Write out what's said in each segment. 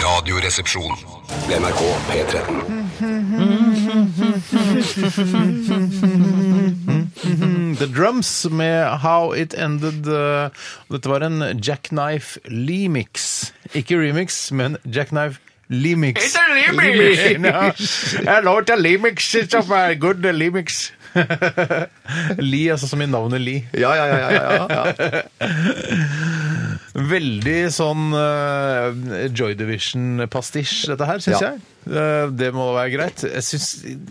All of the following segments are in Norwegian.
Radioresepsjon. NRK P13. The Drums med How It Ended. eh, og Dette var en Jackknife Lemix. Ikke remix, men Jackknife Lemix. It's a Lemix! Ja, Jeg låter Lemix, Kristoffer. Good Lemix. Lee, altså som i navnet Lee. Ja, ja, ja. ja, ja, ja. Veldig sånn eh, Joy Division-pastisj, dette her, syns Ja. jeg. Eh, det må være greit. Jeg synes,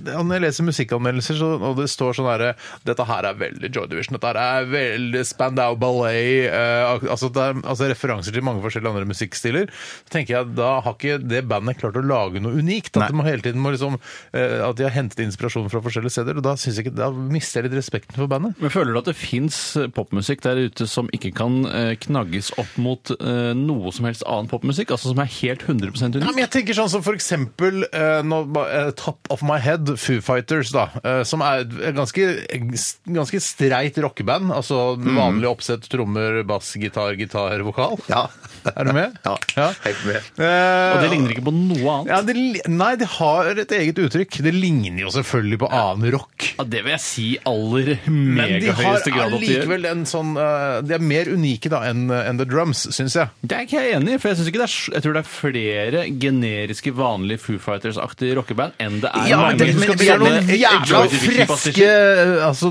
når jeg leser musikkanmeldelser, så, og det står sånn herre Dette her er veldig Joy Division. Dette her er veldig Spandau Ballet. eh, ak- altså, det er, altså referanser til mange forskjellige andre musikkstiler. Så tenker jeg Da har ikke det bandet klart å lage noe unikt. At, de må hele tiden må liksom, eh, at de har hentet inspirasjon fra forskjellige steder. Og da, synes jeg ikke, da mister jeg litt respekten for bandet. Men føler du at det fins popmusikk der ute som ikke kan eh, knagges opp mot eh, noe som helst annen popmusikk? Altså som er helt 100 Ja, unik? men jeg tenker sånn som for eksempel eh, nå ba- eh, Top of my head, Foo Fighters, da. eh, som er et ganske, ganske streit rockeband. Altså Mhm. vanlig oppsett trommer, bass, gitar, gitar, vokal. Ja. Er du med? Ja, helt med. Eh, Og det ligner ikke på noe annet. ja, det, li- Nei, det har et eget uttrykk. Det ligner jo selvfølgelig på annen rock. Ja, det vil jeg si aller Men de har megahøyeste grad at de gjør. allikevel en sånn eh, De er mer unike da enn enn The Drums, syns jeg. Det er ikke jeg enig i, for jeg, synes ikke det er, s- jeg tror det er flere generiske, vanlige Foo Fighters-aktige rockeband enn det er Ja, men mange det, som men skal det er begynne noen med jævla Joy Division-pastisjer. freske altså,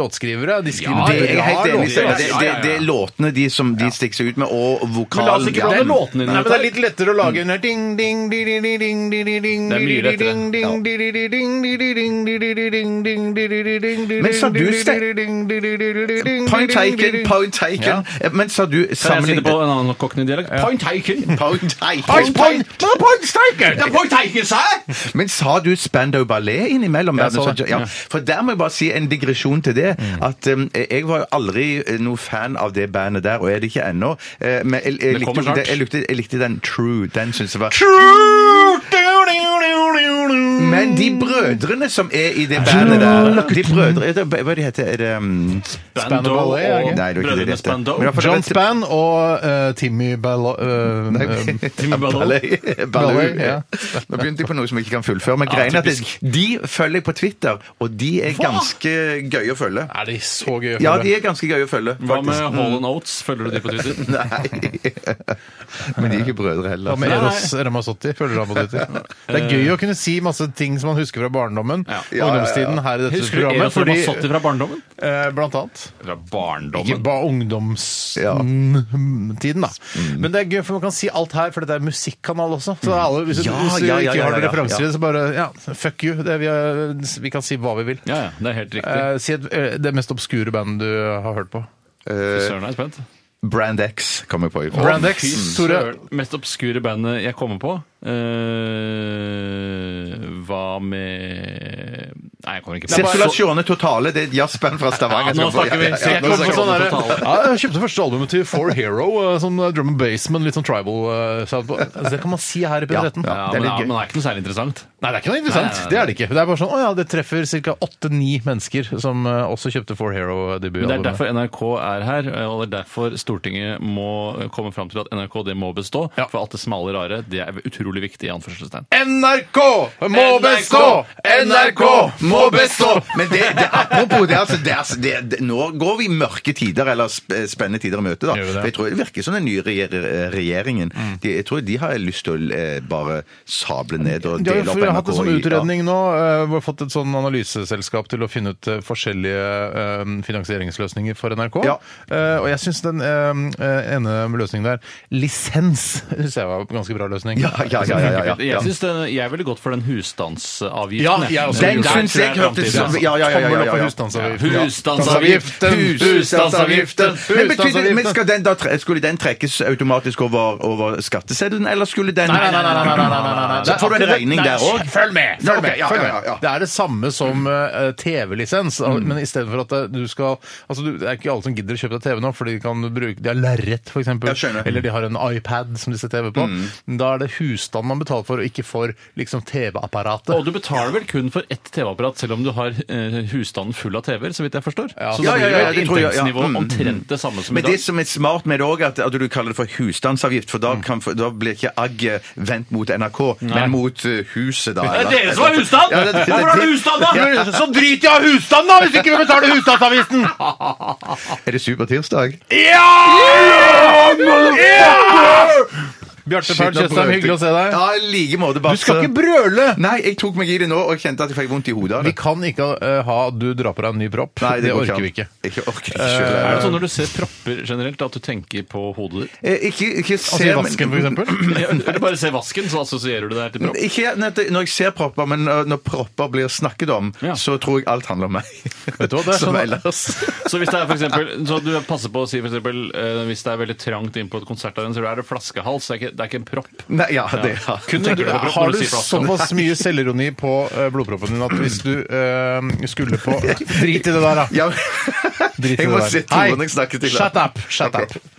låtskrivere. De skriver Ja, Det er jeg helt bra enig i. låter. Steinar. Det, det, det er låtene de som de stikker seg ut med, og Men vokalen. la oss ikke blande Ja. låtene Nei, dine men det er litt lettere å lage en her ding, ding, di, di, di, ding, di, di, ding, Det er mye di, di, lettere, ding, ding, ja. di, di, di, ding, di, di, ding, di, di, di, ding, ding, di, di, di, ding, di, Men di, sa di, du, di, Stein- di, ding, di, di, di, di, di, ding, Point di, di, di, taken, ding. point taken. Eh, Men sa du Kan jeg si det på sammenlignet en annen cockney-dialekt? Point taken! Point taken. Point, point, point, point, striker! Det er point taken, sa jeg! Men sa du Spandau Ballet innimellom? Jeg sa Verden? det. ja. For der må jeg bare si en digresjon til det. At um, jeg var jo aldri eh, noe fan av det bandet der, og er det ikke ennå. Eh, Men jeg, jeg, Det kommer likte, snart. jeg, likte, jeg likte den True. Den syns jeg var True! Men de brødrene som er i det bandet der De brødre er det, Hva de heter er det? um, Spandau Ballet, er det ikke? Nei, det er ikke det det Brødrene heter. Spandau. Men i hvert fall- John Spann og eh, Timmy Balla... eh, eh, Timmy Ballou. Ballet. Ballet, ja. Nå begynte jeg på noe som jeg ikke kan fullføre. Men greien er at typisk. det- de følger jeg på Twitter, og de er ganske gøye å følge. Er de så gøy å Ja, høre? de er ganske gøye å følge. Hva med faktisk. Hall Oates? Følger du de på Twitter? Nei. Men de er ikke brødre heller. Hva med Nei, nei. Eros Ramazzotti? Følger du ham på Twitter? Det er gøy å kunne si masse ting som man husker fra barndommen og Ja, ja, ja. ungdomstiden her i dette Husker du programmet. Eros Fordi, Ramazzotti fra barndommen? eh, blant annet. Fra Ikke barndommen? bare ungdomstiden, da. Mm. Men det er gøy, for man kan si alt her, for dette er musikkanal også. Så alle, hvis, du- Ja, hvis du ja, ja, ikke ja, har noen ja, ja. referanser i det, så bare ja, fuck you. Det, vi, er, vi kan si hva vi vil. Ja, ja, det er helt riktig. Eh, si et, eh, det mest obskure bandet du har hørt på. Fy Søren, jeg er spent. Eh, Mm. Brand X kom jeg på i forhold. Brand Fy X, Tore. søren. Mest obskure bandet jeg kommer på, eh, hva med Nei, jeg kommer ikke på Circulasjone Totale, det er et jazzband fra Stavanger. Ja, nå som- snakker vi. Ja, ja, Jeg kom Det nå på snakker var vi. sånn der, Total. ja, jeg kjøpte første albumet til For Hero, eh, sånn eh, drum and bass, men litt sånn tribal eh, sound på. Altså, Det kan man si her i P13. Ja, Ja, det er men, litt ja, gøy. men det er ikke noe særlig interessant. Nei, det er ikke noe Nei, interessant. nei, nei. Det er det ikke. Det er bare sånn, å ja, det treffer ca. åtte-ni mennesker som eh, også kjøpte For Men Det er Hero-debutalbumet. derfor NRK er her, og det er derfor Stortinget må komme fram til at NRK det må bestå. Ja. For alt det smale, rare, det er utrolig viktig. i anførselstegn. NRK må NRK! bestå! NRK må bestå! Men det, det, apropos det, altså, det, er altså- det, det, nå går vi mørke tider, eller sp- spennende tider i møte. da. Gjør vi det? Mm. For jeg tror det virker som den nye regjer- regjeringen de, Jeg tror de har lyst til å eh, bare sable ned og De har dele jo opp vi har hatt det som i- ja. utredning nå. eh, Vi har fått et sånn analyseselskap til å finne ut eh, forskjellige eh, finansieringsløsninger for NRK. Ja. Eh, Og jeg syns den eh, ene løsningen der, lisens, syns jeg var en ganske bra løsning. Ja, ja, ja, ja, ja, ja. Jeg, synes det, jeg er veldig godt for den husstandsavgiften. Ja, jeg også. Den syns jeg jeg hørte det som- ja, ja, ja, ja, ja, ja. Kommer det opp på Ja. Husstandsavgiften! Hus- Husstandsavgiften! Men, betyr det, men Husstandsavgiften! skal den da, tre- Skulle den trekkes automatisk over, over skatteseddelen, eller skulle den Nei, nei, nei, nei, nei, nei, nei, nei, nei. Så får du en regning Nei, der òg? Følg med! Ja, Følg ok, med! ja, følg ja, ja, Mm. ja. med. Det er det samme som eh, TV-lisens, al- men istedenfor at eh, du skal Altså, du, Det er ikke alle som gidder å kjøpe deg TV nå, for de kan bruke De har lerret, f.eks., skjønner. Mm. eller de har en iPad som de ser TV på. Da er det husstanden man betaler for, og ikke for liksom TV-apparatet. Og du betaler vel kun for ett TV-apparat, selv om du har eh, husstanden full av TV-er, så vidt jeg forstår. Ja. Så Ja, da ja, blir ja, jo det tror jeg, ja. inntektsnivået Mm. omtrent det samme som i Men det dag. som er smart med det òg, at, at du kaller det for husstandsavgift, for Mm. da, kan, da blir ikke agget vendt mot NRK, men mot eh, huset, da. eller? Ja, det- det- det- Ja. Så drit i å ha husstand, da, hvis ikke vi betaler husstandsavgiften! Er det supertirsdag? Ja! Bjarte Paul Tjøstheim, hyggelig å se deg. Ja, i like måte, Basse. Du skal ikke brøle! Nei, jeg tok meg i det nå, og jeg kjente at jeg fikk vondt i hodet av Vi det. kan ikke eh, ha at du drar på deg en ny propp. Nei, det, går orker an. vi ikke. Eh, Ikke orker Er ikke. det sånn når du ser propper generelt, at du tenker på hodet ditt? Eh, Ikke, ikke Altså i se vasken, for eksempel. Eller bare ser vasken, så assosierer du det her til propp? Ikke når jeg- når jeg ser propper, men eh, når når propper blir snakket om, Ja. så tror jeg alt handler om meg. Vet du hva, det er Som sånn- ellers. Så hvis det er for eksempel, så du passer på å si for eksempel, eh, hvis det er veldig trangt inn på et konsertarrangement, så er det flaskehals, det er ikke, det er ikke en propp. Nei, ja, det ja. Kun Du, tenker du på propp har når du du sier flaskehals. såpass mye selvironi på eh, blodproppen din at hvis du eh, skulle på Drit i det der, da. ja. Drit i Jeg det må der. se Tone når jeg snakker til deg. Shut up! Shut Ok. up.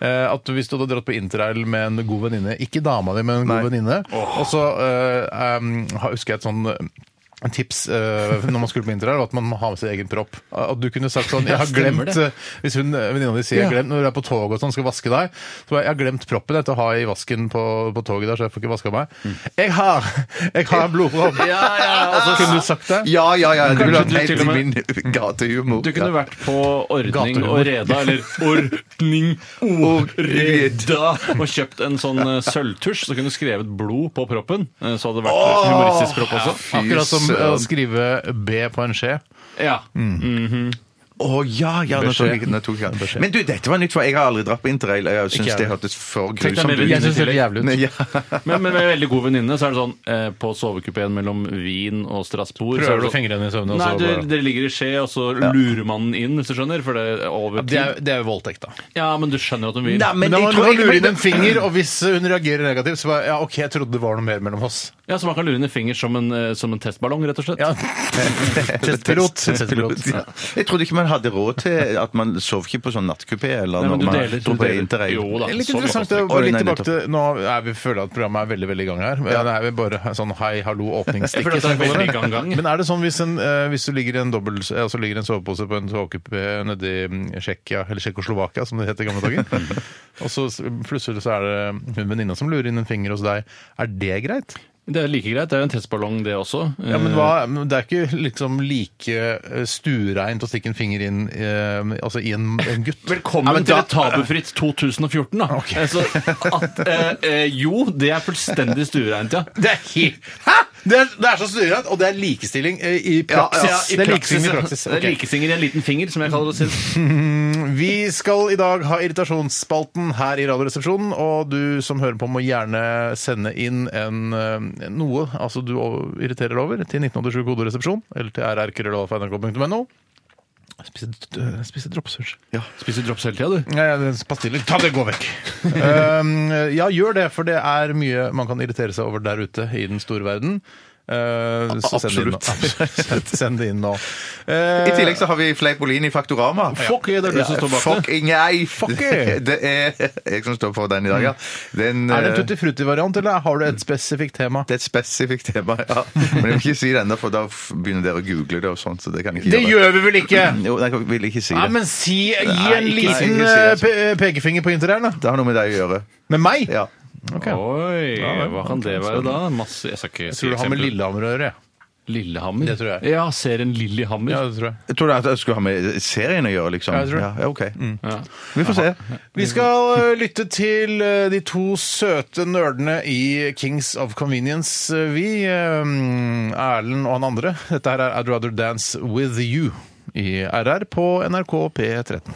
Eh, at Hvis du hadde dratt på interrail med en god venninne Ikke dama di, men en god Nei. venninne. Og så eh, um, ha- husker jeg et sånn eh, tips eh, når man skulle på interrail, var at man må ha med sin egen propp. At du kunne sagt sånn jeg har stemmer glemt, det. eh, Hvis hun, eh, venninna di sier jeg har glemt, når du er på toget og sånn, skal vaske deg, så bare, jeg har glemt proppen jeg til å ha i vasken på, på toget der, så jeg får ikke vaska meg. Mm. Jeg har jeg har en blodpropp! Kunne du sagt det? Ah! Ja, ja, ja. Du Kanskje vil ha du helt til i og min gatehumor. Du kunne vært på Ordning Gatehumor. og Reda, eller Ordning og Reda, og kjøpt en sånn eh, sølvtusj, så kunne du skrevet blod på proppen. eh, Så hadde det vært eh, humoristisk propp også. Akkurat som Fy å søren. skrive B på en skje. Ja. Mm. Å ja, ja. Nå tok jeg, nå tok jeg. den. Men du, dette var nytt, for jeg har aldri dratt på interrail. Jeg Ikke syns jeg. det hørtes for Tenk deg grusomt mer ut. Jeg synes det er jævlig Nei, ja. Men, men med en veldig god venninne så er det sånn eh, på sovekupeen mellom Wien og Strasbourg så er Prøver du det å sånn- fingre henne i søvne? og Nei, så det, bare- det ligger i skje, og så lurer man den inn, hvis du skjønner. For det er over Det er, tid. det er jo voldtekt, da. Ja, men du skjønner jo at hun vil. Nei, men Men da jeg må tror man jeg- lure inn en finger, og hvis hun reagerer negativt, så bare Ja, OK, jeg trodde det var noe mer mellom oss. Ja, Så man kan lure henne i finger som en, eh, som en testballong, rett og slett. Ja. Testpilot. Testpilot. Ja. Jeg trodde ikke man hadde råd til at man sov ikke på sånn nattkupé eller Nei, når men du man deler, dro du på deler. interrail. Jo da. Det er litt Sånn interessant var å det. gå Oi, litt nei, tilbake til Nå er vi føler at programmet er veldig veldig i gang her. Men Det er vel bare sånn hei, hallo, Jeg føler åpningsstikk. Sånn. at det er veldig i gang, gang. Men er det sånn hvis, en, eh, hvis du ligger i en dobbel, eh, altså ligger i en sovepose på en togkupé nedi mm, Tsjekkia, eller Tsjekkoslovakia som det het i gamle dager, og så s- plutselig så er det hun venninna som lurer inn en finger hos deg, er det greit? Det er like greit. Det er jo en testballong, det også. Ja, men hva, men Det er ikke liksom like eh, stuereint å stikke en finger inn eh, altså i en, en gutt. Velkommen men til da- et tabufritt 2014, da. Eh, Så at, eh, eh, jo, det er fullstendig stuereint, ja. Det er helt Hæ?! Det er, det er så stuereint, og det er likestilling eh, i praksis. Ja, i det er praksis, likestilling i ja. praksis. Det er Ok. likesinger i en liten finger, som jeg kaller det. selv. Vi skal i dag ha Irritasjonsspalten her i Radioresepsjonen, og du som hører på må gjerne sende inn en, eh, noe altså du o- irriterer deg over til 1987 koderesepsjon eller til rrkrøllalfa.nrk.no. Spise, eh, spise droppsurs. Spiser drops hele tida, du. Ja, ja, det er Pastiller. Ta det, gå vekk! um, ja, gjør det, for det er mye man kan irritere seg over der ute i den store verden. Uh, så send det inn nå. send det inn nå. I tillegg så har vi Fleipolini i Faktorama. Fuck, det er du som står bak det. Fuck, nei, fuck it. Det er jeg som står for den i dag, ja. Den, er det en eh, tutti frutti-variant, eller har du et spesifikt tema? Det er et spesifikt tema, ja. Men jeg vil ikke si det ennå, for da f- begynner dere å google det og sånt. så det kan jeg ikke gjøre. vi vel ikke! Jo, nei, jeg vil ikke si Nei, det. men si, Gi Nei, en ikke- liten nei, ikke si det. eh, pe- pekefinger på intereren, da. Det har noe med deg å gjøre. Med meg? Ja. Ok. Oi, hva kan det være da? Masse, jeg skal ikke Jeg tror det har med Lillehammer å gjøre. jeg. Lillehammer? Det tror jeg. Ja, serien Lillehammer. Ja, det tror jeg. Jeg tror det at jeg skulle ha med serien å gjøre, liksom. Ja, jeg tror det. Ja, ok. Vi får se. Vi skal eh, lytte til eh, de to søte nerdene i Kings of Convenience. eh, Vi, eh, Erlend og han andre. Dette her er I'd Rather Dance With You i RR på NRK P13.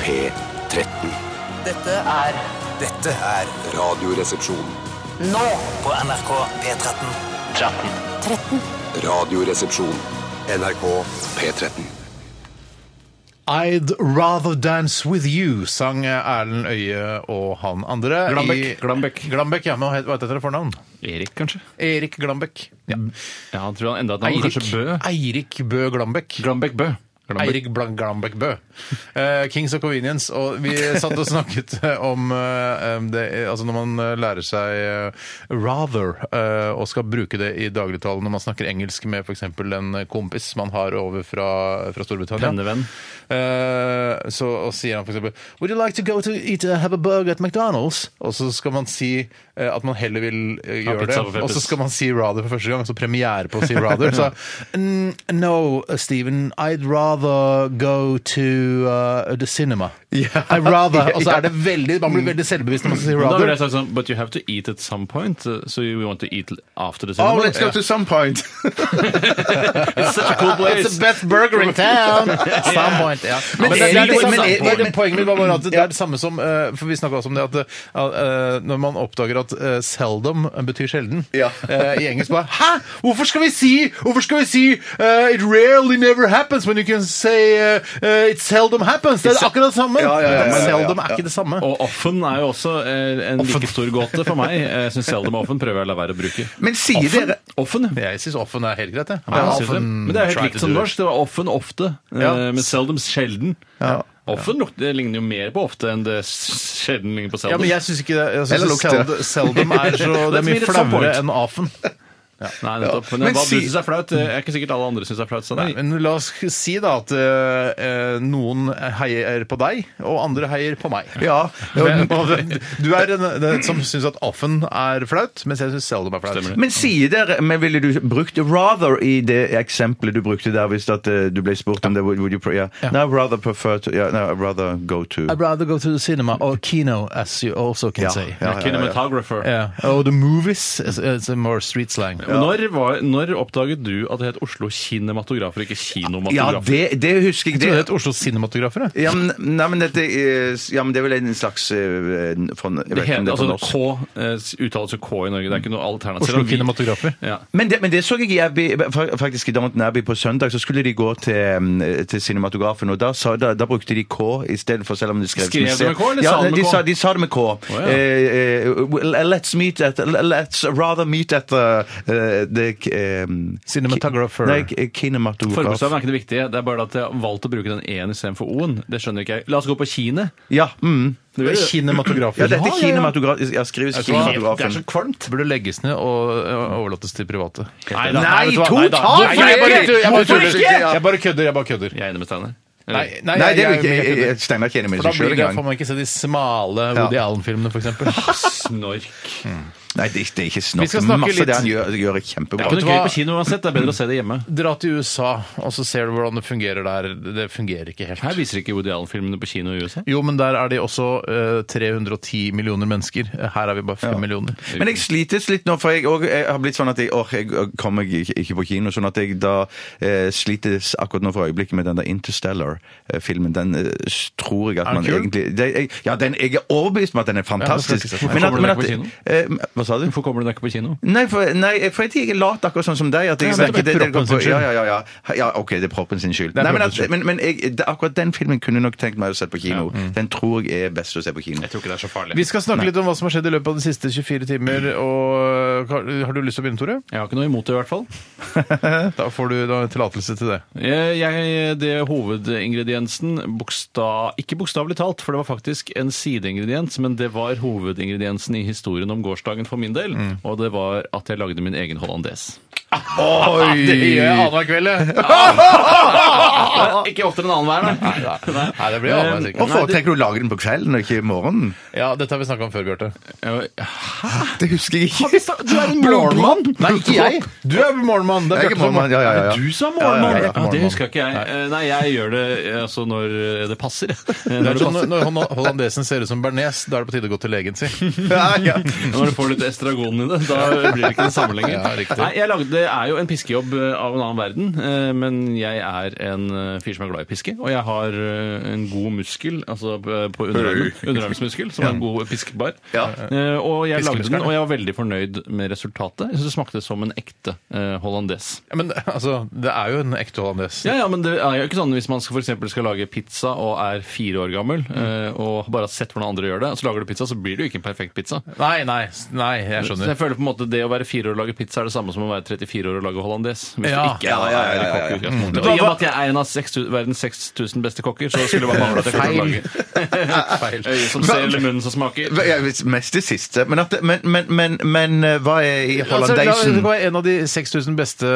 P13. Dette er Radioresepsjon. nå på NRK P13. 13. P13. Radioresepsjon. NRK P13. I'd rather dance with you, sang Erlend Øye og han andre. Glambekk, i- Glambekk. Glambekk, ja, men hva heter det fornavn? Erik, kanskje? Erik Glambekk. Ja. Ja, han tror han enda et navn. Kanskje Bø? Eirik Bø Glambekk. Glambekk Bø. Glambekk. Eirik Blan- Glambekk Bø. Eh, Kings of Convenience. Og vi satt og snakket eh, om eh, em, det, eh, Altså når man eh, lærer seg eh, rather eh, og skal bruke det i dagligtalen når man snakker engelsk med f.eks. en kompis man har over fra, fra Storbritannia. Pennevenn. Eh, så og sier han for eksempel Would you like to go to eat uh, have a burger at McDonald's? Og så skal man si eh, at man heller vil eh, Ha gjøre det. pizza på Peppers. Og så skal man si rather for første gang, altså premiere på å si rather. Så mm, No, Steven, I'd rather go to uh, the cinema. I'd rather Og så er det veldig Man blir veldig selvbevisst når man skal si Da ville jeg rather. sagt sånn But you have to eat at some point, uh, so you want to eat after the Oh, cinema. let's go to some point. It's such a cool place. It's Ah, the best burger in town! Some point, ja. Men, det, Erik- er det samme, men- men, men- poenget mitt var bare at det er det samme som eh, For vi snakka også om det at eh, eh, når man oppdager at eh, seldom betyr sjelden Ja. eh, I engelsk bare Hæ?! Hvorfor skal vi si Hvorfor skal vi si eh, It rarely never happens when you can say eh, eh, It seldom happens! Det er akkurat det samme! Ja, ja, ja, ja, ja, ja. Seldom er ikke det samme. Og offen er jo også eh, en like stor gåte for meg. eh, Jeg syns seldom offen prøver jeg å la være å bruke. Men sier dere Offen? ja. Jeg syns offen er helt greit, jeg. Ja, jeg synes det. Often Men det er helt try likt to som do it. norsk. Det var offen ofte, eh, Ja. men seldom sjelden. Offen lukter- det ligner jo mer på ofte enn det s- sjelden ligner på Ja, seldom. men jeg syns ikke det. Jeg synes Eller lukter. seld, seldom er så Det Let's er meet mye at some flauere point. enn afen. Nei, nettopp. Men, Men hva si- du syns er flaut, eh, er ikke sikkert alle andre syns er flaut. Så Nei, nei. men la oss si da at eh, eh, noen heier på deg, og andre heier på meg. Ja. Men- Du er en, den som syns at offen er flaut, mens jeg syns seldom er flaut. Stemmer det. Men sier dere, men ville du brukt rather i det eksempelet du brukte der, hvis at eh, du ble spurt om det? Would, would you, pre- ja. No, I'd rather prefer to yeah, no, I'd rather go to I'd rather go to the cinema or kino, as you also can Ja, say. ja, ja, ja. Cinematographer. Yeah. Oh, the movies is, is a more street slang. Men Når, var, når oppdaget du at det het Oslo kinematografer, ikke Ja, kinomatografer? det, det husker jeg. Det er et Det, Oslo Cinematografer, jeg. ja, men, nei, men dette, eh, ja, men det er vel en slags eh, fra, jeg Det vet ikke heter, om det er fra altså, norsk. K eh, uttales jo K i Norge. Det er ikke noe alternativ. Oslo Selv om vi- Kinematografer. Ja. Men det, men det så jeg i Abbey, fa- faktisk i Downton Abbey på søndag. Så skulle de gå til, um, til cinematografen, og da, sa, da, da brukte de K istedenfor, selv om de skrev Skrev de som- med K, eller ja, sa de med de K? Sa, de sa det med K. ja. Eh, eh, well, let's meet at Let's rather meet at the, eh, the um, Cinematographer. Nei, k- kinematograf. Forbokstaven er ikke det viktige. Det er bare at jeg har valgt å bruke den en istedenfor o-en. Det skjønner ikke jeg. La oss gå på kine. Ja, mm. Det er Kinematografer. ja, dette Ja, ja, er ja. kinematograf... Ja, skrives kinematografen. kvalmt. Burde legges ned og og overlates til private. Nei, da. Nei, vet du hva? totalt da. for Nei, jeg bare ikke! kødder, jeg bare Hvorfor kødder. ikke? Jeg bare kødder. jeg bare kødder. Jeg er enig med Steinar. Nei, Eller- nei, Nei, det er jeg- jo ikke jeg- jeg kødder. jeg- Steinar er ikke enig med For da seg sjøl blir det, får engang. man ikke se de smale Woody Allen-filmene, f.eks. Snork. Nei, det, det er ikke Vi snakk. skal snakke Masse litt- av det han gjør, gjør er kjempebra. Det er Vet du gøy hva? på kino uansett. Det er bedre å se det hjemme. Dra til USA, og så ser du hvordan det fungerer der. Det fungerer ikke Her helt. viser ikke Woody Allen-filmene på kino i USA. Jo, men der er de også eh, 310 millioner mennesker. Her er vi bare 5 millioner. Men jeg slites litt nå, for jeg, og, jeg har blitt sånn at jeg, åh, jeg kommer ikke, ikke på kino. Sånn at jeg da eh, slites akkurat nå for øyeblikket med den der Interstellar-filmen. Den eh, s- tror jeg at Er den man kul? egentlig det, jeg, Ja, den, jeg er overbevist om at den er fantastisk. Ja, det skal jeg si. Hvorfor at, kommer den eh, Hva sa du? Hvorfor kommer du deg ikke på kino? Nei, for, nei, for jeg, jeg er lat akkurat sånn som deg. At jeg, Ja, men det er det, det, proppen sin skyld. ja, ja, ja, ja. ja, OK, det er proppen sin skyld. er Nei, men, proppen at, sin skyld. men, men jeg, det, akkurat den filmen kunne jeg nok tenkt meg å sette på kino. Mm. Den tror jeg er best å se på kino. tror ikke det er så farlig. Vi skal snakke litt om hva som har skjedd i løpet av de siste 24 timer. og eh, Har har du lyst til å begynne, Tore? Jeg har ikke noe imot det, i hvert fall. Da får du da tillatelse til det. Jeg, jeg- det er hovedingrediensen boksta, Ikke bokstavelig talt, for det var faktisk en sideingrediens, men det var hovedingrediensen i historien om gårsdagen for min del. Og det var at jeg lagde min egen hollandes. Oi! Det gjør jeg annenhver kveld, jeg. Ikke oftere enn annenhver, nei. Nei, det blir annenhver sikkert. Og foretrekker du å lage den på kvelden og ikke i morgenen? Ja, dette har vi snakka om før, Bjarte. Det husker jeg ikke. Du er en morgenmann! Nei, ikke jeg! Du er morgenmann. Det er Jeg er Bjarte som morgenmann, ja, ja, ja. Du sa morgenmann! Ja, ja, ja. Ja, det husker ikke jeg. Eh, Nei, jeg gjør det eh, altså når eh, det passer. Eh, Når det Når, passer. når holla- hollandesen ser ut som bearnés, da er det på tide å gå til legen sin. Ja, ja. Når du får litt estragon i det, da blir det ikke den samme lenger. Ja, riktig. Nei, jeg lagde det er jo en piskejobb eh, av en annen verden, eh, men jeg er en eh, fyr som er glad i piske, og jeg har eh, en god muskel, altså eh, på underarmen, underarmsmuskel, som er en god piskebar. Eh, Og jeg lagde den, Piskemuskelen. og jeg var veldig fornøyd med resultatet. Jeg synes det smakte som en ekte eh, hollandes. Ja, Men altså, det er jo en ekte hollandes. Ja, ja, men det er jo ikke sånn hvis man skal, for eksempel skal lage pizza og er fire år gammel, eh, og bare har sett hvordan andre gjør det, og så lager du pizza, så blir det jo ikke en perfekt pizza. Nei, nei, s- nei, jeg Så skjønner. jeg føler på en måte det å være fire år og lage pizza er det samme som å være 34 år og lage hollandes. Hvis Ja. du ikke er, Ja, ja, ja, ja, ja. er kokk, ikke sant? Og I og med at jeg er en av 6000 verdens 6000 beste kokker, så skulle det bare mangle at jeg klarte å lage Feil. øye som ser eller munnen som smaker. Hva- ja, hvis- Mest det siste. Men, at, det- men, men, men, men eh, hva er i Altså, la- det hollandeisen? kan være en av de 6000 beste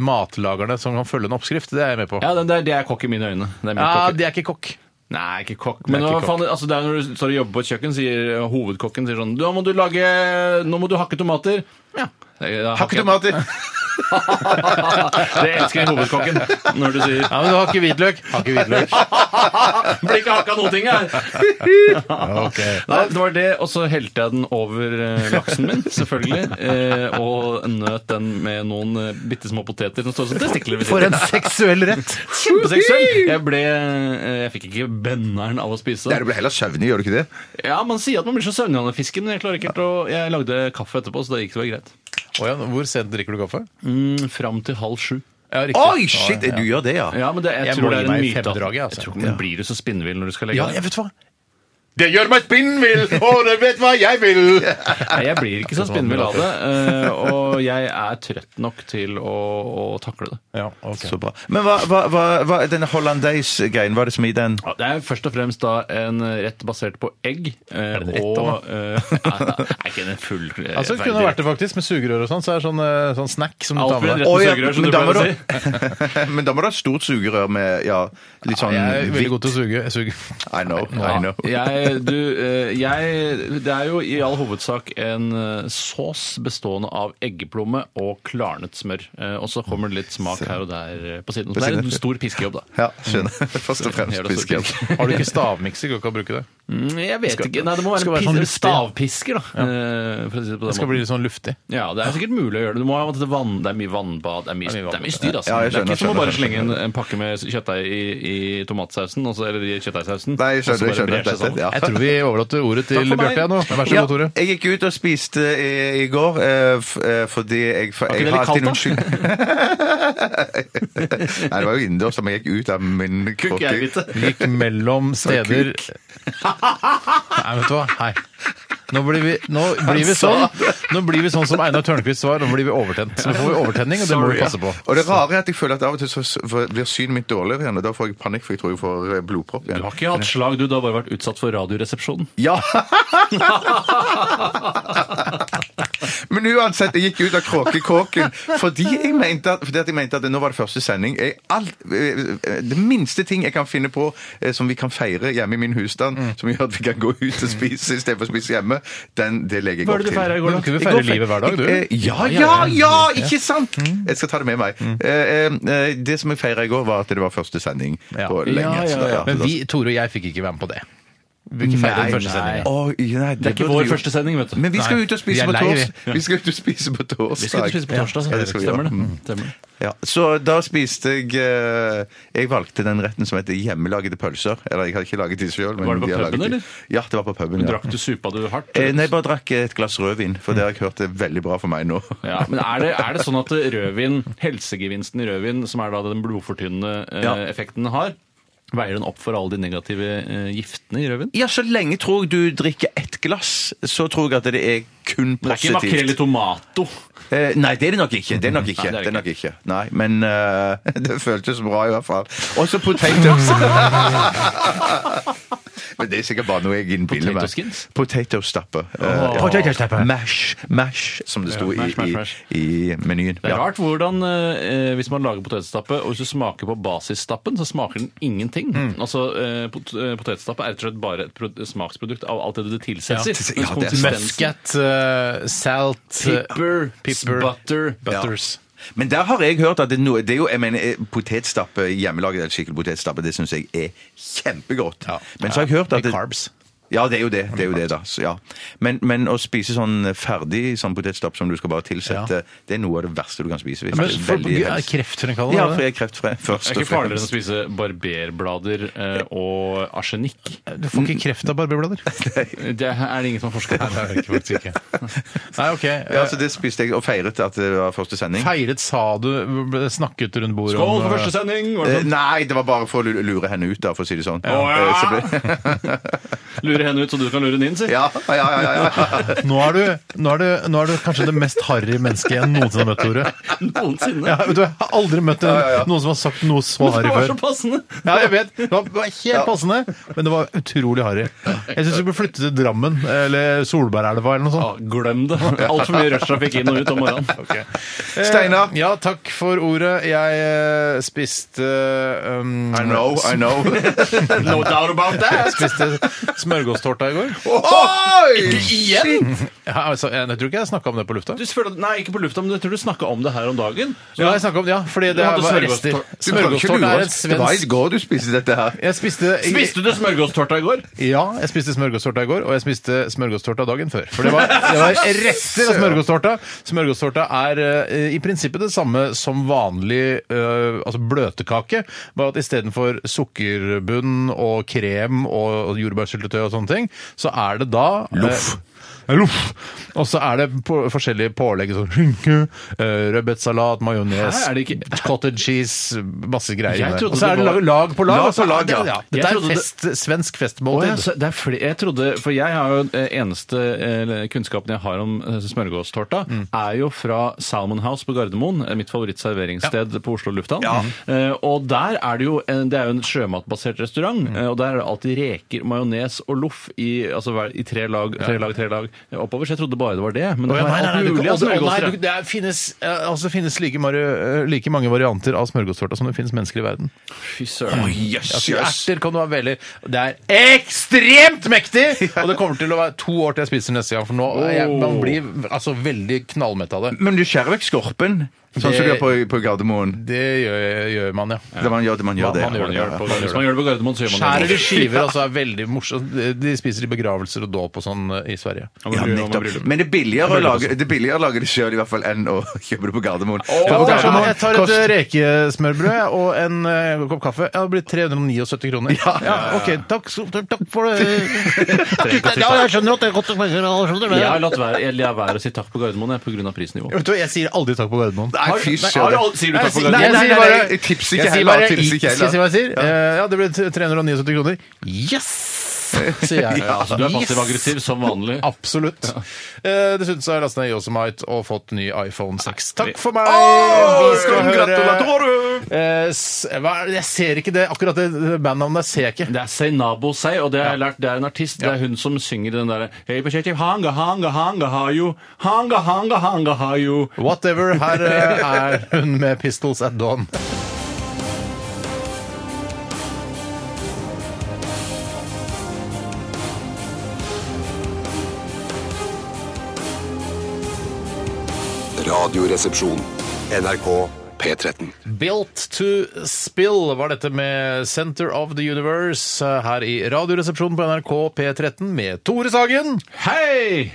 matlagerne som kan følge en oppskrift. Det er jeg med på. Ja, den der, det er kokk i mine øyne. Det er min Ja, kokk. de er ikke kokk. Nei, ikke kokk. Men Det er hva ikke faen, altså det er når du står og jobber på et kjøkken, sier eh, hovedkokken sier sånn «Da må du lage, Nå må du hakke tomater. Ja. Hakke tomater! det elsker hovedkokken når du sier Ja, men du har ikke hvitløk. Har ikke hvitløk. Blir ikke hakka noen ting her! Nei, det var det, og så helte jeg den over eh, laksen min, selvfølgelig. Eh, og nøt den med noen eh, bitte små poteter som står som testikler ved For siden en av. seksuell rett! Kjempeseksuell! Jeg ble eh, Jeg fikk ikke benneren av å spise. Ja, du blir heller søvnig, gjør du ikke det? Ja, man sier at man blir så søvnig av den fisken. men Jeg klarer ikke helt å Jeg lagde kaffe etterpå, så da gikk det vel greit. Å ja, hvor sent drikker du kaffe? Mm, fram til halv sju. Ja, riktig. Oi, shit! Du gjør det, ja? Ja, men det, jeg, Jeg tror må det gi er en meg myte. at- femdraget, altså. Jeg tror ikke man blir jo så spinnvill når du skal legge Ja, deg. jeg vet hva. Det gjør meg spinnvill, og det vet hva jeg vil! Nei, jeg blir ikke så spinnvill av det. eh, Og jeg er trøtt nok til å, å takle det. Ja, ok. Så bra. Men hva, hva, hva, hva denne hollandeis-greien, hva er det som er i den? Ja, Det er først og fremst da en rett basert på egg. eh, det en rett, og eh, Nei, det er ikke en full eh, Altså, det kunne verdig vært det faktisk, med sugerør og sånn. Så er det sånn, eh, sånn snack som du Alt tar med blir rett deg. Å, med ja, sugerør, som men du da må pleier å si. Men da må du ha stort sugerør med ja, litt sånn Jeg er veldig hvitt- god til å suge. Jeg suger. I know, I know. jeg, du, eh, jeg, det er jo i all hovedsak en eh, sås bestående av eggeplomme og klarnet smør. Eh, Og så kommer det litt smak her og der eh, på siden. Så det er en stor piskejobb, da. Ja, skjønner. Først og fremst Jævla stor pisken. pisk. Har du ikke stavmikser, går ikke an å bruke det. Mm, Jeg vet ikke. Nei, det må være, skal være en sånn pis- luftig. stavpisker, da. eh, For å si det på den Det skal måten. bli litt sånn luftig. Ja, det er sikkert mulig å gjøre det. Du må ha det, vann, det er mye vannbad, det er mye, det Det er mye er mye vannbad. styr. Altså. Ja, det er jeg skjønner, ikke som å skjønner, bare slenge en, en pakke med kjøttdeig i, i tomatsausen, og så- eller i kjøttdeigsausen. Nei, jeg og så skjønner, jeg bare brer skjønner. seg Dette, sammen. ja. Jeg tror vi overlater ordet til Takk for meg. Bjarte jeg, nå. Vær så Ja, god, Tore. jeg gikk ut og spiste i, i går eh, f, eh, fordi jeg, for, Var ikke det jeg litt kaldt, da? skyld Nei, det var jo innendørs, men jeg gikk ut av min Kukk jeg krukke. hvite. Vi gikk mellom steder Nei, vet du hva? Hei. Nå blir, vi, nå, blir vi sånn, nå blir vi sånn som Einar Tørnquist var. Nå blir vi overtent. Så nå får vi overtenning, og det må vi passe på. Og det rare er at jeg føler at av og til så s- for- blir synet mitt dårligere igjen, og da får jeg panikk, for jeg tror jeg får eh, blodpropp Du igjen. har ikke hatt slag, du. Du har bare vært utsatt for Radioresepsjonen. Ja! Men uansett, jeg gikk ut av kråkekåken fordi jeg mente at, fordi at, jeg mente at nå var det første sending. Jeg, alt, eh, det minste ting jeg kan finne på eh, som vi kan feire hjemme i min husstand, Mm. som gjør at vi kan gå ut og spise istedenfor å spise hjemme, den, det legger jeg Hva er opp det du til. feirer i går, Men da? kunne vi Jeg feire går fe- livet hver dag, Eh, du? Ja, ja, ja! Ikke sant? Mm. Jeg skal ta det med meg. Eh, eh, eh, Det som jeg feira i går, var at det var første sending Ja. på lenge. Ja, ja, så da- ja. så Men da- vi, Tore og jeg, fikk ikke være med på det. Vi fikk ikke feire den Nei, første nei. sendingen. Å, nei, Det er ikke burde vår vi jo- første sending, vet du. Men vi skal Nei, ut og vi spise er på lei, torsdag. vi. Vi skal ut og spise på torsdag. Vi skal ut og spise på torsdag, så Ja, det skal vi stemmer gjøre. Mm. det. Stemmer det. Ja, så da spiste jeg eh, Jeg valgte den retten som heter hjemmelagede pølser. Eller jeg hadde ikke laget de sjøl. Var det på puben, eller? Ja, det var på puben. ja. Drakk du supa du hardt? Eh, Nei, jeg bare drakk et glass rødvin, for det har jeg hørt er veldig bra for meg nå. Ja, men er det, er det sånn at rødvin, helsegevinsten i rødvin, som er da den blodfortynnende eh, Ja. effekten den har, veier den opp for alle de negative eh, giftene i rødvin? Ja, så lenge tror jeg du drikker ett glass, så tror jeg at det er kun Det er ikke makrell i positivt. tomato. Eh, nei, det er det nok ikke. Det er nok ikke. Nei, det er det det er nok ikke. Nei, men eh, det føltes bra i hvert fall. Og så potatoes. men det er sikkert bare noe jeg innbiller Potato meg. skins? Potatostappe. Eh, ja. Mash, mash, som det sto Ja, mash, i, mash, mash. i, i menyen. Det er Ja. rart hvordan eh, eh, hvis man lager potetstappe, og hvis du smaker på basisstappen, så smaker den ingenting. Mm. Altså, eh, pot eh, Potetstappe er rett og slett bare et pro smaksprodukt av alt det du tilsetter. Ja, mens ja, det er sant. konsistensen- Muscat, eh, salt eh, Pepper, pepper, butter. Butters. Men der har jeg hørt at det, er noe, det er jo, jeg mener, eh, potetstappe, hjemmelaget eller skikkelig potetstappe, det syns jeg er kjempegodt. Men så har jeg hørt at Med det, carbs. Ja, det er jo det. det, er jo det da. Så, ja. men, men å spise sånn ferdig sånn potetstapp som du skal bare tilsette, det er noe av det verste du kan spise. hvis Men det er for, veldig er helst. kreftfremkallende? Ja, er det for det? jeg er kreftfri først Det er og ikke farligere enn å fremst. spise barberblader eh, og arsenikk. Du får ikke kreft av barberblader. Det er det ingen som har forsket på. Nei, det er faktisk ikke. Nei, OK. Eh, Ja, så Det spiste jeg og feiret at det var første sending. Feiret, sa du, ble snakket rundt bordet Skål for eh, første sending! var det Eh, sånn? Nei, det var bare for å lu- lure henne ut, da, for å si det sånn. Ja. Eh, så ble- Lure henne ut, så du kan lure henne inn, si. ja, ja, ja, ja, ja. Nå er, du, nå, er du, nå er du kanskje det mest harry mennesket jeg noensinne har møtt, Tore. Noensinne. Ja, vet du, jeg har aldri møtt en, noen som har sagt noe så det harry var så før. passende! Ja, jeg vet. Det var det var helt passende, men det var utrolig harry. Jeg syns vi bør flytte til Drammen eller Solbergelva eller noe Ja, sånt. glem det. Altfor mye rushtrafikk inn og ut om morgenen. Eh, Steinar? Ja, takk for ordet. Jeg eh, spiste um, I know, I know. No doubt about Jeg spiste smørgåstårta i går. Oi! Igjen! Ja, altså, jeg, jeg tror ikke jeg snakka om det på lufta. Du spør, nei, ikke på lufta, men jeg tror du snakka om det her om dagen. Ja, jeg snakket om det, ja, fordi det hadde var smørgåstårta. rester. Du kan ikke Smørgåstårta lure er et oss. Det var i svensk går du spiste dette her. jeg spiste, Spiste du smørgåstårta i går? Ja, jeg spiste smørgåstårta i går, og jeg spiste smørgåstårta dagen før. For det var, det var rester av smørgåstårta. Smørgåstårta er eh, i prinsippet det samme som vanlig eh, altså bløtkake, bare at istedenfor sukkerbunn og krem og jordbærsyltetøy og sånne ting, så er det da eh, Loff. ja, Loff. Og så er det på, forskjellige pålegg. Sånn skinke, eh, rødbetsalat, majones, Hæ, er det ikke- cottage cheese, masse greier. Jeg inni der. trodde Og så er det det var- lag, lag på lag. Lag og så på lag, er ja. det- Jeg Dette trodde det- er fest, svensk Å, festmåltid. ja, så det er fordi, jeg trodde, for jeg har jo eh, eneste eh, kunnskapen jeg har om eh, smørgåstårta, Mm. er jo fra Salmon House på Gardermoen, eh, mitt favorittserveringssted på Oslo lufthavn. Eh, og der er det jo en, det er jo en sjømatbasert restaurant, Mm. eh, og der er det alltid reker, majones og loff i, altså, hver- i tre lag, tre lag, tre lag eh, oppover. Så jeg trodde bare det var det. Men det Å, kan ja, være nei, nei, nei, alt du kan- altså, mulig av å, nei, smørgåstårta. du- det er- finnes, eh, altså, det finnes like, mari- eh, like mange varianter av smørgåstårta som det finnes mennesker i verden. Fy søren. Jøss, Altså, jøss. erter kan du ha veldig Det er ekstremt mektig! Og det kommer til å være to år til jeg spiser neste gang, for nå er jeg, man blir altså, veldig knallmett av det. Men du skjærer vekk skorpen, sånn som du gjør på, på Gardermoen. Det gjør, gjør man, ja. Det man gjør, det man gjør det. Man gjør det, gjør det. Hvis man gjør det på Gardermoen, så gjør man Skjærer det. i skiver, altså er veldig morsomt. De spiser i begravelser og dåp og sånn eh, i Sverige. Man Ja, bryr- man nettopp. bryr- Men det er billigere å lage det, er billigere å lage det sjøl enn å kjøpe det på Gardermoen. Ja, For kanskje Gardermoen jeg tar et eh, kost- rekesmørbrød og en eh, kopp kaffe. Ja, det blir 379 kroner. Ja, OK. Takk, så- takk for det. Ja, jeg skjønner at det er godt. Jeg skjønner Jeg det. har latt være, jeg lar være å si takk på Gardermoen pga. prisnivået. Vet du hva, Jeg sier aldri takk på Gardermoen. Nei, fy søren. Sier du takk på Nei, Gardermoen? jeg Nei, nei, sier nei, bare- nei, jeg tipser ikke jeg sier heller, bare, tipser Skal ikke jeg si heller. hva jeg sier? Eh, Ja, det blir 379 kroner. Yes! Sier jeg. Ja, altså, du er Yes! passiv-aggressiv som vanlig. Absolutt. Eh, Dessuten så har jeg lastet ned Yosemite og fått ny iPhone 6. Takk for meg! vi skal høre eh, s- hva er det? Jeg ser ikke det. Akkurat det det bandnavnet der ser jeg ikke. Det er Seinabo Sei, og det har jeg lært, det er en artist. Det er hun som synger den derre Hey, Basheti, hanga, hanga, hanga, hayo. Hanga, hanga, hanga, hayo. Whatever. Her eh, er hun med Pistols at Dawn. Radioresepsjon. NRK P13. Built to Spill var dette med Center of the Universe eh, her i Radioresepsjonen på NRK P13 med Tore Sagen, Hei!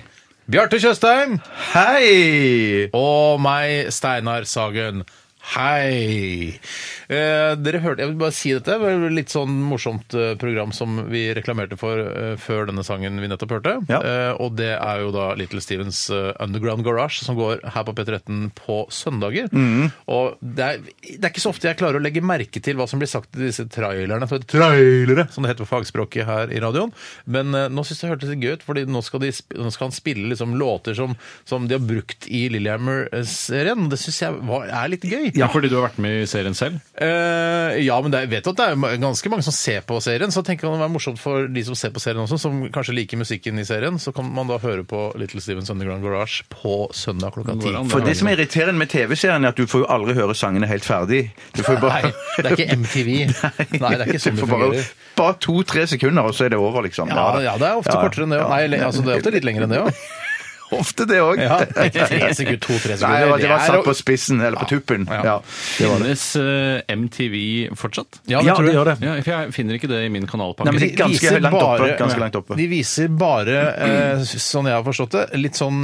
Bjarte Tjøstheim Hei! og meg, Steinar Sagen. Hei! Eh, dere hørte, Jeg vil bare si dette. Det var litt sånn morsomt eh, program som vi reklamerte for eh, før denne sangen vi nettopp hørte. Ja. Eh, og det er jo da Little Stevens eh, Underground Garage, som går her på P13 på søndager. Og det er, det er ikke så ofte jeg klarer å legge merke til hva som blir sagt i disse trailerne, for trailere, som det heter på fagspråket her i radioen. Men eh, nå syns jeg det hørtes litt gøy ut, fordi nå skal, de, sp- nå skal han spille liksom låter som, som de har brukt i Lillehammer-serien. og Det syns jeg var, er litt gøy. Ja, fordi du har vært med i serien selv? Eh, ja, men det, jeg vet at det er ma- ganske mange som ser på serien, så jeg tenker det kan være morsomt for de som ser på serien også, som kanskje liker musikken i serien. Så kan man da høre på Little Stevens Underground Garage på søndag klokka ti. Går an, For det som er irriterende med TV-serien, er at du får jo aldri høre sangene helt ferdig. Du får jo bare Nei, det er ikke MTV. Nei, det er ikke sånn Du det får bare, fungerer. bare to-tre sekunder, og så er det over, liksom. Ja, ja, det er ofte Ja, kortere enn det. ja. Nei, le- altså, det er ofte litt lenger enn det òg. Ofte det òg. Ja, ikke tre sekunder, to-tre Nei, sekunder. det var, det var er satt å- på spissen, eller på tuppen. Ja. Ja. det var det. Finnes eh, MTV fortsatt? Ja, det tror jeg. Ja, for jeg finner ikke det i min kanalpakke. Nei, men det- De ganske viser langt oppe, bare- ganske langt oppe. De viser bare, eh, sånn jeg har forstått det, litt sånn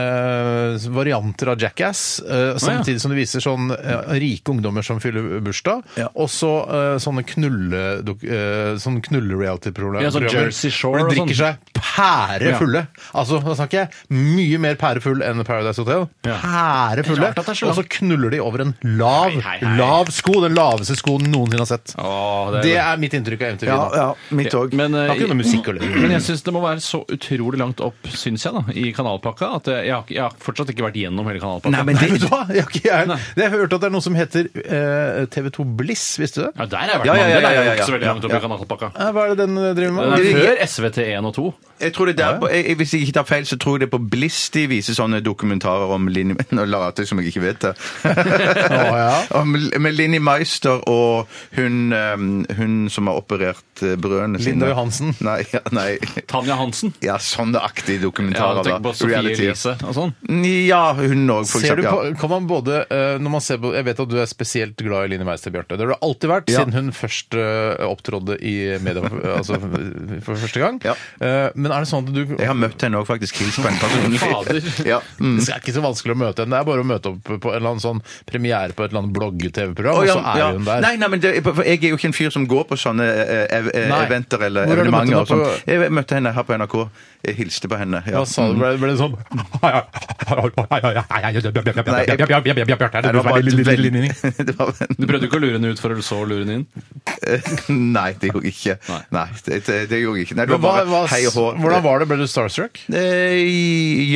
eh, varianter av Jackass. Eh, samtidig som de viser sånn eh, rike ungdommer som fyller bursdag, Ja. og så eh, sånne knulle eh, sånn knulle-reality-programmer. Ja, sånn Jersey Shore Hvor de og drikker sånn. seg pærefulle. Altså, da snakker jeg mye mer pærefull enn Paradise Hotel. Ja. Pærefulle. Rart at det er så Og så langt. knuller de over en lav, Hei, hei, hei. lav sko. Den laveste skoen noensinne har sett. Å, det er- det, er mitt inntrykk av MTV. Ja, da. ja, mitt òg. Men, eh, Det har ikke noe musikk å lure. men jeg syns det må være så utrolig langt opp, syns jeg, da, i kanalpakka, at jeg, jeg, har, jeg har fortsatt ikke vært gjennom hele kanalpakka. Nei, men Nei, vet det du hva? Jeg har ikke jeg, det har jeg hørt at det er noe som heter eh, TV2 Bliss, visste du det? ja, der har jeg vært Ja, ja, mange, ja, det er ja, ja, jo ikke så veldig ja. langt opp i kanalpakka. Eh, Hva er det den eh, driver med? Det er Før- før SVT1 og 2. Jeg tror det der, jeg, Hvis jeg ikke tar feil, så tror jeg det er på Bliss de viser sånne dokumentarer om Linni Nå later jeg som jeg ikke vet det. ja. om, med Linni Meister og hun, um, hun som har operert eh, brødrene sine. Linda Johansen. Nei, ja, nei. Tanja Hansen. Ja, sånne aktige Ja, dokumentarer. tenk da. på Sofie Reality. Elise og sånn. Ja, hun òg, for Ser du på, eksempel. Ja. kan man både, eh, når man ser på, Jeg vet at du er spesielt glad i Line Meister, Bjarte. Det har du alltid vært Ja. siden hun først eh, opptrådte i media for, altså, for første gang. Ja. Eh, men er det sånn at du Jeg har møtt henne òg, faktisk. Hils på henne personlig. Fader. Ja. Mm. Det er ikke så vanskelig å møte henne. Det er bare å møte opp på en eller annen sånn premiere på et eller annet blogg-TV-program, Å, ja, og så er ja. hun der. Nei, nei, men det, for jeg er jo ikke en fyr som går på sånne eh, ev Nei. eventer eller Hvor har du møtt evenementer. henne og sånt. på- Jeg møtte henne her på NRK. Jeg hilste på henne. Ja. Mm. Hva sa du? Ble, ble det sånn Nei, det var bare et Nei, veldig- det var en- Du prøvde ikke å lure henne ut for å så lure henne inn? Nei, det gjorde jeg ikke. Nei. Nei, det, det, det gjorde jeg ikke. Nei, det Men var hva, bare hva, hei og hå. hvordan var det? Ble du starstruck? Eh,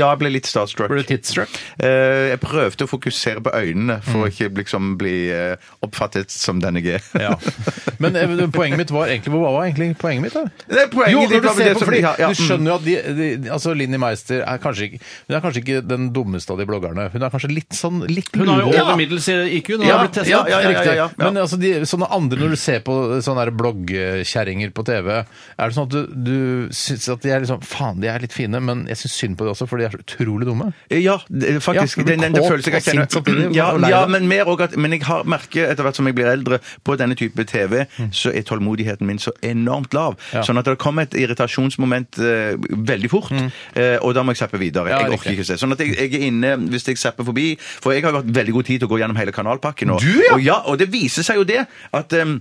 Ja, jeg ble litt starstruck. Ble du tidsstruck? Eh, Jeg prøvde å fokusere på øynene Mm. for å ikke liksom bli eh, oppfattet som den jeg er. Men eh, poenget mitt var egentlig Hva var egentlig poenget mitt? da? Det er poenget Jo, ditt, når du hva var ser det på som- fordi ja, ja, Du mm. skjønner jo at de, de altså Linni Meister er kanskje ikke Hun er kanskje ikke den dummeste av de bloggerne. Hun er kanskje litt sånn litt Hun har jo lurig. over middels IQ når hun Ja, har blitt testet. ja, ja, ja, ja, Riktig. ja. Men altså, de, sånne andre, når du ser på sånne der bloggkjerringer på TV, er det sånn at du, du syns at de er liksom Faen, de er litt fine, men jeg syns synd på de også, for de er så utrolig dumme. Ja, det- faktisk. Ja, Ja, du blir den, den, den kåt følelsen jeg og kjenner. sint samtidig, Ja, og lei ja deg. men, mer også at, men jeg har merket etter hvert som jeg blir eldre, på denne type TV, så er tålmodigheten min så enormt lav. Mm. Ja. Sånn at det kommer et irritasjonsmoment eh, veldig fort, eh, og da må jeg zappe videre. Mm. Ja, jeg riktig. orker ikke se. Sånn at jeg, jeg er inne hvis jeg zapper forbi, for jeg har jo hatt veldig god tid til å gå gjennom hele kanalpakken nå. Du, ja! Og, ja, og det viser seg jo det at em,